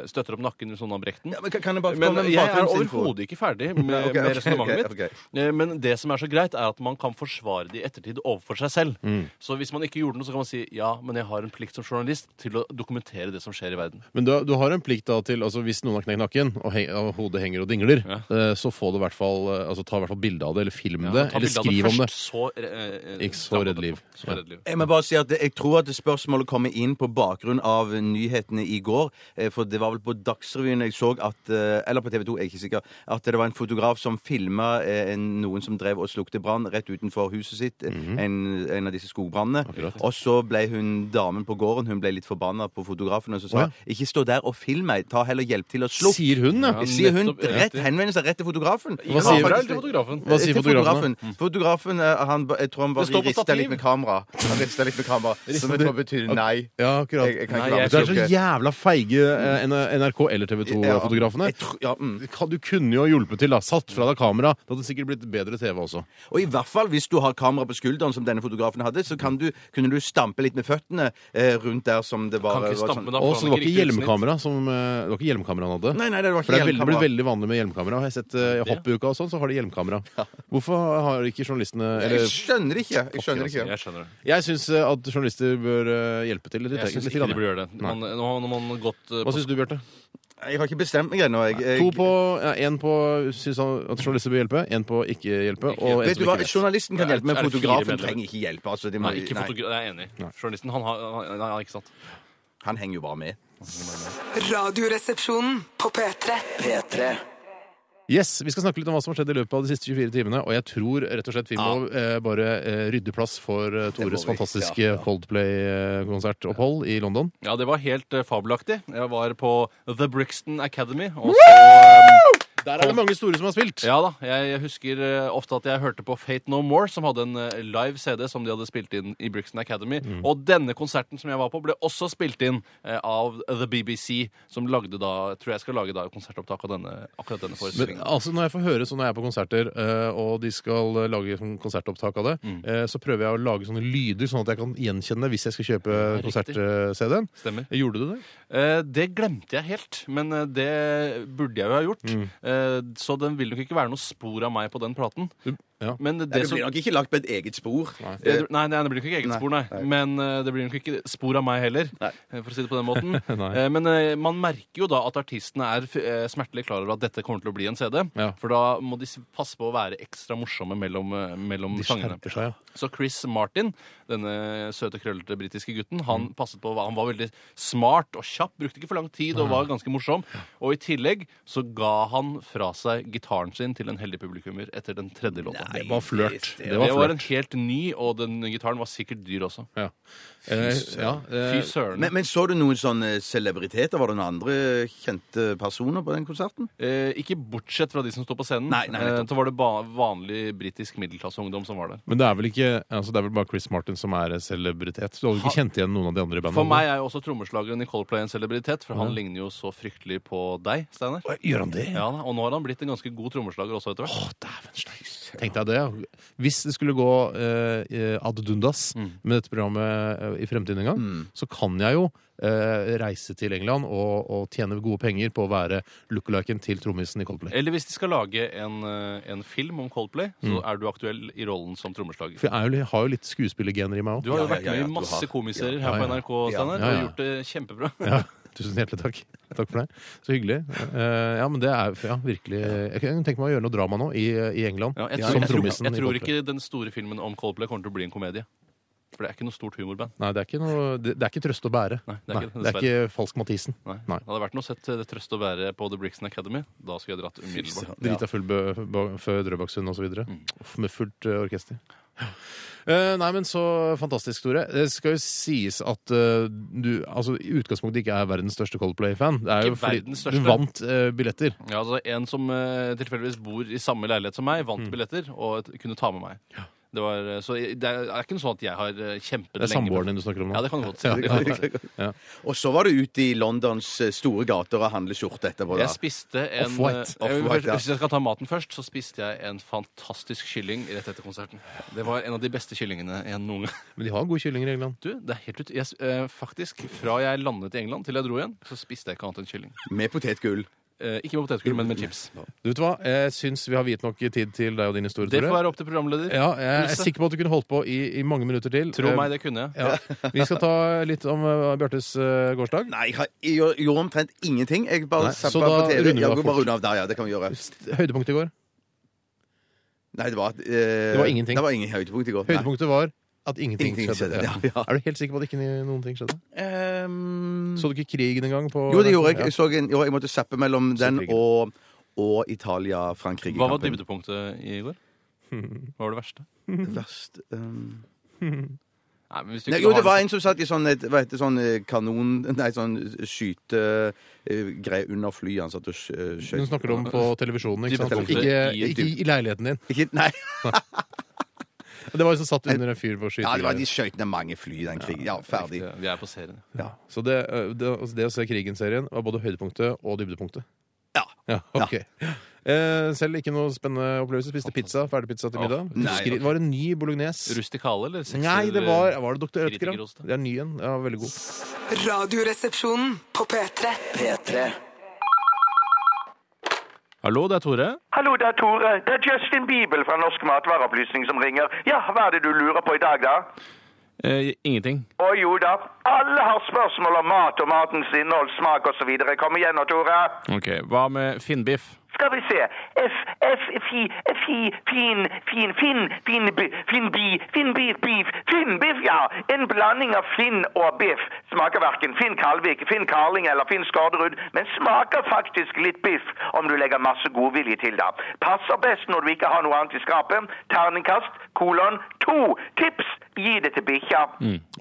Speaker 4: støtter opp nakken under sånn av brekten.
Speaker 5: Ja, men kan- kan jeg bare
Speaker 4: Men
Speaker 5: komme med
Speaker 4: jeg er
Speaker 5: bakgrunnsinfo?
Speaker 4: overhodet ikke
Speaker 3: [LAUGHS]
Speaker 4: ferdig med,
Speaker 5: Nei, ok,
Speaker 4: med
Speaker 5: ok,
Speaker 4: resonnementet
Speaker 5: ok,
Speaker 4: mitt. Eh, Men det som er så greit, er at man kan forsvare det i ettertid overfor seg selv.
Speaker 3: Mm.
Speaker 4: Så hvis man ikke gjorde noe, så kan man si ja, men jeg har en plikt som journalist til å dokumentere det som skjer i verden.
Speaker 3: Men du, du har en plikt da til, altså hvis noen har knekt nakken, og, heng, og hodet henger og dingler, eh, så få det i hvert fall, eh, altså ta i hvert fall bilde av det, eller film det,
Speaker 4: Ta
Speaker 3: eller
Speaker 4: bilde av
Speaker 3: skriv om det.
Speaker 4: først, Så, eh, eh,
Speaker 3: Ikke så
Speaker 4: stramme
Speaker 3: redd
Speaker 4: det
Speaker 3: liv.
Speaker 4: opp. Så redd liv.
Speaker 5: Jeg må bare si at jeg tror at spørsmålet kommer inn på bakgrunn av nyhetene i går. eh, For det var vel på Dagsrevyen jeg så at eh, Eller på TV 2, jeg er ikke sikker. At det var en fotograf som filma noen som drev og slukte brann rett utenfor huset sitt. eh,
Speaker 3: Mhm.
Speaker 5: en, en av disse skogbrannene. Og så ble hun damen på gården Hun ble litt forbanna på fotografen og så sa
Speaker 3: Å, ja.
Speaker 5: Ikke stå der og film meg, ta heller hjelp til å slukke.
Speaker 3: Sier hun, ja.
Speaker 5: Sier hun
Speaker 4: nettopp,
Speaker 5: rett,
Speaker 4: riktig.
Speaker 5: henvender seg rett til fotografen.
Speaker 3: Hva
Speaker 5: Ja,
Speaker 3: sier-
Speaker 5: faktisk-
Speaker 4: Eller til fotografen.
Speaker 3: Hva sier
Speaker 5: til
Speaker 3: fotografen? Mm.
Speaker 5: fotografen? Fotografen, eh, han, ba- jeg tror han
Speaker 4: Det står
Speaker 5: bare
Speaker 4: på
Speaker 5: rista
Speaker 4: stativ.
Speaker 5: litt med kamera. Han rista litt med
Speaker 3: [LAUGHS]
Speaker 5: kamera, Som jeg tror betyr nei.
Speaker 3: Ja, akkurat.
Speaker 5: Jeg- jeg kan ikke
Speaker 3: Nei,
Speaker 5: la meg
Speaker 3: det er så
Speaker 5: slukke.
Speaker 3: jævla feige eh, NRK eller TV
Speaker 5: Ja.
Speaker 3: 2-fotografene.
Speaker 5: Jeg tror- ja, mm.
Speaker 3: Du kunne jo ha hjulpet til, da. Satt fra deg kamera. Det hadde sikkert blitt bedre TV også.
Speaker 5: Og i hvert fall hvis du har kamera på skulderen, som denne fotografen hadde, så kan du, kunne du stampe litt med føttene eh, rundt der som det
Speaker 4: Kan
Speaker 5: bare
Speaker 4: ikke stampe, da.
Speaker 5: sånn.
Speaker 4: får
Speaker 3: Og
Speaker 4: han
Speaker 3: så det var ikke
Speaker 4: riktig utsnitt.
Speaker 3: hjelmkamera som, eh, det var ikke hjelmkamera han hadde.
Speaker 5: Nei, nei, det var
Speaker 3: For det
Speaker 5: ikke
Speaker 3: er veldig,
Speaker 5: hjelmkamera.
Speaker 3: blir veldig vanlig med hjelmkamera. Har jeg sett eh, i hoppuka og sånn, så har de hjelmkamera. Hvorfor har ikke journalistene
Speaker 5: Jeg
Speaker 3: eller,
Speaker 5: skjønner det ikke. Jeg skjønner det ikke.
Speaker 4: Jeg skjønner det.
Speaker 3: Jeg syns at journalister bør eh, hjelpe til litt.
Speaker 4: Jeg syns
Speaker 3: litt
Speaker 4: ikke
Speaker 3: grann.
Speaker 4: de burde gjøre det. Man, nå har man gått eh,
Speaker 3: Hva
Speaker 4: på
Speaker 3: syns du, Bjarte?
Speaker 5: Jeg har ikke bestemt meg ennå. Jeg,
Speaker 3: To
Speaker 5: jeg,
Speaker 3: på ja, En på syns han at journalister bør hjelpe, en på ikke hjelpe, og en
Speaker 5: vet du
Speaker 3: som
Speaker 5: hva,
Speaker 3: ikke vet.
Speaker 5: Journalisten kan
Speaker 4: Ja, er
Speaker 5: hjelpe, men
Speaker 4: det fire
Speaker 5: fotografen
Speaker 4: medlemmer?
Speaker 5: trenger ikke hjelp. Altså, det må,
Speaker 4: Nei, ikke
Speaker 5: nei,
Speaker 4: fotograf... Jeg er enig. Journalisten, han har han- han- Ikke sant.
Speaker 5: han henger jo bare med.
Speaker 1: Radioresepsjonen på P3.
Speaker 2: P3.
Speaker 3: Yes, Vi skal snakke litt om hva som har skjedd i løpet av de siste 24 timene. Og jeg tror rett og slett vi må eh, bare eh, rydde plass for eh, Tores fantastiske Coldplay-konsertopphold i London.
Speaker 4: Ja, det var helt eh, fabelaktig. Jeg var på The Brixton Academy. Og så, eh,
Speaker 3: Der er det mange store som har spilt!
Speaker 4: ja da, jeg, jeg husker eh, ofte at jeg hørte på Fate No More, som hadde en eh, live CD som de hadde spilt inn i Brixton Academy. Og denne konserten som jeg var på, ble også spilt inn eh, av The BBC, som lagde da, tror jeg skal lage da konsertopptak av denne, akkurat denne
Speaker 3: Men
Speaker 4: forestillingen.
Speaker 3: altså, når jeg får høre sånn når jeg er på konserter, eh, og de skal eh, lage sånn konsertopptak av det, eh, så prøver jeg å lage sånne lyder, sånn at jeg kan gjenkjenne det hvis jeg skal kjøpe
Speaker 4: riktig.
Speaker 3: konsert-CD-en.
Speaker 4: Stemmer.
Speaker 3: Gjorde du det?
Speaker 4: Eh, det glemte jeg helt, men eh, det burde jeg jo ha gjort.
Speaker 3: Mm.
Speaker 4: Eh, så den vil nok ikke være noe spor av meg på den platen.
Speaker 3: Ja.
Speaker 4: Men det,
Speaker 5: Det,
Speaker 4: som,
Speaker 5: blir nok ikke lagt på et eget spor. Eh,
Speaker 4: det, nei, nei, det blir nok ikke eget spor, nei. Men eh, det blir nok ikke spor av meg heller, eh, for å si det på den måten.
Speaker 3: [LAUGHS]
Speaker 4: Eh, men eh, man merker jo da at artistene er f- eh, smertelig klar over at dette kommer til å bli en CD.
Speaker 3: Ja.
Speaker 4: For da må de s- passe på å være ekstra morsomme mellom, eh, mellom
Speaker 3: De
Speaker 4: sangene.
Speaker 3: skjerper seg, ja.
Speaker 4: Så Chris Martin, denne søte, krøllete britiske gutten, han
Speaker 5: Mm.
Speaker 4: passet på Han var veldig smart og kjapp, brukte ikke for lang tid og var ganske morsom. Og i tillegg så ga han fra seg gitaren sin til en heldig publikummer etter den tredje låta.
Speaker 3: Det var flørt.
Speaker 4: Det var, en helt ny, og den gitaren var sikkert dyr også.
Speaker 3: Ja. Eh, ja, eh,
Speaker 4: Fy søren.
Speaker 5: Men, men så du noen sånne celebriteter? Var det noen andre kjente personer på den konserten?
Speaker 4: eh, ikke bortsett fra de som står på scenen.
Speaker 5: Nei, nei,
Speaker 4: eh,
Speaker 5: nettopp.
Speaker 4: så var det ba vanlig britisk middelklasseungdom som var der.
Speaker 3: Men det er vel ikke altså det er vel bare Chris Martin som er celebritet? Så Du hadde ikke kjent igjen noen av de andre i bandet?
Speaker 4: For meg er jo også trommeslageren i Coldplay en celebritet, for han ligner jo så fryktelig på deg, Steinar.
Speaker 3: Gjør han det?
Speaker 4: Ja, da, og nå har han blitt en ganske god trommeslager også etter hvert.
Speaker 3: Å, dæven steis. Tenkte jeg det. ja. Hvis det skulle gå eh, eh, ad dundas
Speaker 4: Mm.
Speaker 3: med dette programmet eh, i fremtiden en gang, så kan jeg jo eh, reise til England og, og tjene gode penger på å være lookaliken til trommisen i Coldplay.
Speaker 4: Eller hvis de skal lage en, eh, en film om Coldplay,
Speaker 3: Mm.
Speaker 4: så er du aktuell i rollen som trommeslager.
Speaker 3: For jeg er jo, jeg har jo litt skuespillergener i meg òg.
Speaker 4: Du har jo
Speaker 5: Ja, ja,
Speaker 4: vært
Speaker 5: ja, ja,
Speaker 4: med i
Speaker 5: du
Speaker 4: masse
Speaker 5: har.
Speaker 4: komiserier
Speaker 3: Ja, ja.
Speaker 4: her på NRK, Steinar,
Speaker 3: Ja, ja.
Speaker 4: og gjort det kjempebra.
Speaker 3: Ja, tusen hjertelig takk. Takk for det. Så hyggelig. Eh, ja, men det er ja, virkelig Jeg kan tenke meg å gjøre noe drama nå i, eh, i England.
Speaker 4: Ja, jeg,
Speaker 3: som
Speaker 4: tror, jeg, tror,
Speaker 3: trommisen
Speaker 4: jeg
Speaker 3: i
Speaker 4: tror
Speaker 3: Coldplay.
Speaker 4: ikke den store filmen om Coldplay kommer til å bli en komedie. For det er ikke noe stort humorband.
Speaker 3: Nei, det er ikke, noe, det, det er ikke trøst å bære.
Speaker 4: Nei, det er ikke det,
Speaker 3: det er ikke Falsk Mathisen.
Speaker 4: Nei.
Speaker 3: Nei.
Speaker 4: Hadde det vært noe sett eh, det Trøst å være på The Brixton Academy, da skulle jeg dratt umiddelbart. Mm.
Speaker 3: Drita full bø- bø- før Drøbaksund osv. Med fullt ø, orkester. Eh, nei, men så fantastisk, Tore. Det skal jo sies at eh, du altså, i utgangspunktet ikke er verdens største Coldplay-fan. Det er
Speaker 4: Ikke
Speaker 3: jo fordi
Speaker 4: verdens største.
Speaker 3: du vant eh, billetter.
Speaker 4: Ja, altså En som eh, tilfeldigvis bor i samme leilighet som meg,
Speaker 3: Mm.
Speaker 4: vant billetter og et- kunne ta med meg. Det var, eh, så jeg- det er, det er ikke sånn at jeg har eh, kjempet
Speaker 3: Det er samboeren din du snakker om nå.
Speaker 4: Ja, det kan du godt si. Det kan du godt si.
Speaker 5: Og så var du ute i Londons eh, store gater og handle skjorte etterpå. da.
Speaker 4: Jeg spiste en
Speaker 3: Off-white.
Speaker 4: eh, jeg vil
Speaker 5: Off-white,
Speaker 4: først-
Speaker 5: ja.
Speaker 4: Hvis jeg skal ta maten først, så spiste jeg en fantastisk kylling rett etter konserten. Det var en av de beste kyllingene jeg noen gang
Speaker 3: Men de har gode kyllinger i England.
Speaker 4: Du, det er helt ut... Jeg, s- eh, faktisk, fra jeg landet i England til jeg dro igjen, så spiste jeg ikke annet enn kylling.
Speaker 5: Med potetgull.
Speaker 4: Eh, ikke med potetgull, men med chips.
Speaker 3: Du vet hva, Jeg syns vi har viet nok tid til deg og din historie,
Speaker 4: Det får
Speaker 3: Tore.
Speaker 4: være opp til programleder.
Speaker 3: Ja, jeg er
Speaker 4: Else.
Speaker 3: sikker på at du kunne holdt på i, i mange minutter til.
Speaker 4: Tro
Speaker 3: Eh,
Speaker 4: meg, det kunne jeg.
Speaker 3: Ja. Vi skal ta litt om eh, Bjartes eh, gårsdag.
Speaker 5: Nei, jeg, har, jeg gjorde- gjorde omtrent ingenting. Jeg bare
Speaker 3: Nei,
Speaker 5: zappa
Speaker 3: så da
Speaker 5: på TV.
Speaker 3: runder vi
Speaker 5: Jeg
Speaker 3: av
Speaker 5: går bare
Speaker 3: fort.
Speaker 5: runde av der, ja. Det kan vi gjøre.
Speaker 3: Høydepunktet i går.
Speaker 5: Nei, det var eh,
Speaker 3: Det var ingenting.
Speaker 5: Det var ingen høydepunkt i går. Nei.
Speaker 3: Høydepunktet var at ingenting,
Speaker 5: Ingenting
Speaker 3: skjedde.
Speaker 5: skjedde, ja, ja.
Speaker 3: Er du helt sikker på at ikke ni- noen ting skjedde?
Speaker 5: Ehm,
Speaker 3: Så du ikke krigen engang? på-
Speaker 5: jo, det gjorde jeg.
Speaker 3: Ja.
Speaker 5: Jeg, så en, jo, jeg måtte zappe mellom den og, og Italia-Frankrike.
Speaker 4: Hva var Hmm. dybdepunktet i går? Hva var det verste?
Speaker 5: Verst ehm.
Speaker 4: Nei, men hvis du
Speaker 5: Nei,
Speaker 4: ikke
Speaker 5: jo,
Speaker 4: har
Speaker 5: det var
Speaker 4: det-
Speaker 5: en som satt i sånn, et, hva heter det, sånn eh, kanon... Nei, sånn skytegreie under flyet. Han satt og sk- eh,
Speaker 3: Hun
Speaker 5: skjøt.
Speaker 3: snakker om på televisjonen, ikke sant?
Speaker 4: Dypdepunktet
Speaker 3: Ikke,
Speaker 4: i-
Speaker 3: ikke i leiligheten din.
Speaker 5: Ikke, nei,
Speaker 3: Det var jo som satt under en fyr på
Speaker 5: ja, det var de
Speaker 3: skyting.
Speaker 5: skjøt ned mange fly i den krigen. Ja, ferdig.
Speaker 4: Riktig, Vi er på serien.
Speaker 3: Ja. Så det, ø, det, altså det å se Krigen-serien var både høydepunktet og dybdepunktet?
Speaker 5: Ja.
Speaker 3: ja ok. Eh, selv ikke noe spennende opplevelse. Spiste pizza, ferdig pizza til middag.
Speaker 4: Å, nei,
Speaker 3: Skri,
Speaker 4: ok.
Speaker 3: var eh, det ny bolognese?
Speaker 4: Rustikale eller sekser?
Speaker 3: Nei, det var, var det Dr. Ødker?
Speaker 4: Kritikerost, da.
Speaker 3: Det er ny en. Ja, veldig god.
Speaker 1: Radioresepsjonen på P3.
Speaker 2: P3.
Speaker 4: Hallo, det er Tore.
Speaker 10: Hallo, det er Tore. Det er Justin Bibel fra Norsk Matvareopplysning som ringer. Ja, hva er det du lurer på i dag, da?
Speaker 4: Eh, ingenting.
Speaker 10: Å jo da, alle har spørsmål om mat og matens innhold, smak osv. Kom igjen nå, Tore.
Speaker 4: Ok, Hva med finnbiff?
Speaker 10: Skal vi se. F, F, fi, fi, fin, fin, fin, fin, bi, fin, bi, fin, bi, beef, fin, biff, ja. En blanding av finn og biff. Smaker hverken Finn Kalvik, Finn Karling eller Finn Skårderud, men smaker faktisk litt biff om du legger masse godvilje til da. Passer best når du ikke har noe annet i skapet. Terningkast, kolon, to. Tips, gi det til bikkja.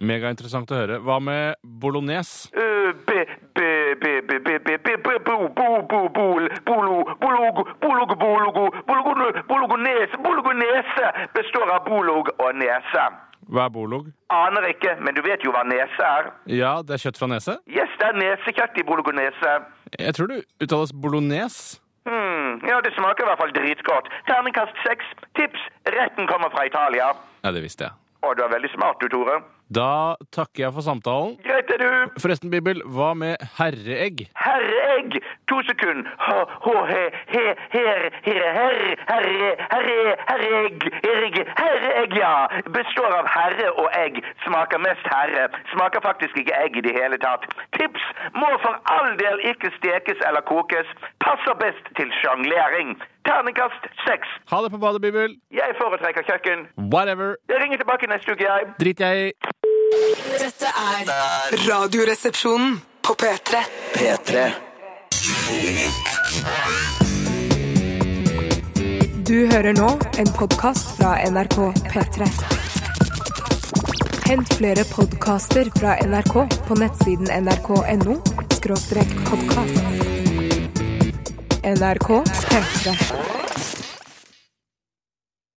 Speaker 4: Megainteressant å høre. Hva med bolognese?
Speaker 10: Øh, be, be, be, be, be, be, be, be, bo, bo, bo, bol, bolo, bolog, bolog, bologo, bologone- bologonese, bologonese består av bolog og nese.
Speaker 4: Hva er bolog?
Speaker 10: Aner ikke, men du vet jo hva nese er.
Speaker 4: Ja, det er kjøtt fra nese.
Speaker 10: Yes, det er nesekjøtt i bologonese.
Speaker 4: Jeg tror det uttales bolognese.
Speaker 10: Hmm, ja, det smaker i hvert fall dritgodt. Terningkast seks. Tips, retten kommer fra Italia.
Speaker 4: Ja, det visste jeg.
Speaker 10: Å, du er veldig smart du, Tore.
Speaker 4: Da takker jeg for samtalen.
Speaker 10: Greit er du.
Speaker 4: Forresten, Bibel, hva med herreegg?
Speaker 10: Herreegg! To sekund. H-h-he, he, her, herre, herre, herre, herre, herreegg, herreegg, herreegg, ja. Består av herre og egg. Smaker mest herre. Smaker faktisk ikke egg i det hele tatt. Tips! Må for all del ikke stekes eller kokes. Passer best til sjonglering. Ternekast seks.
Speaker 4: Ha det på badet, Bibel.
Speaker 10: Jeg foretrekker kjøkken.
Speaker 4: Whatever.
Speaker 10: Jeg ringer tilbake neste uke, jeg.
Speaker 4: Drit jeg i.
Speaker 1: Dette er Radioresepsjonen på P3.
Speaker 2: P3.
Speaker 11: Du hører nå en podkast fra NRK P3. Hent flere podkaster fra NRK på nettsiden nrk.no podkast. NRK P3.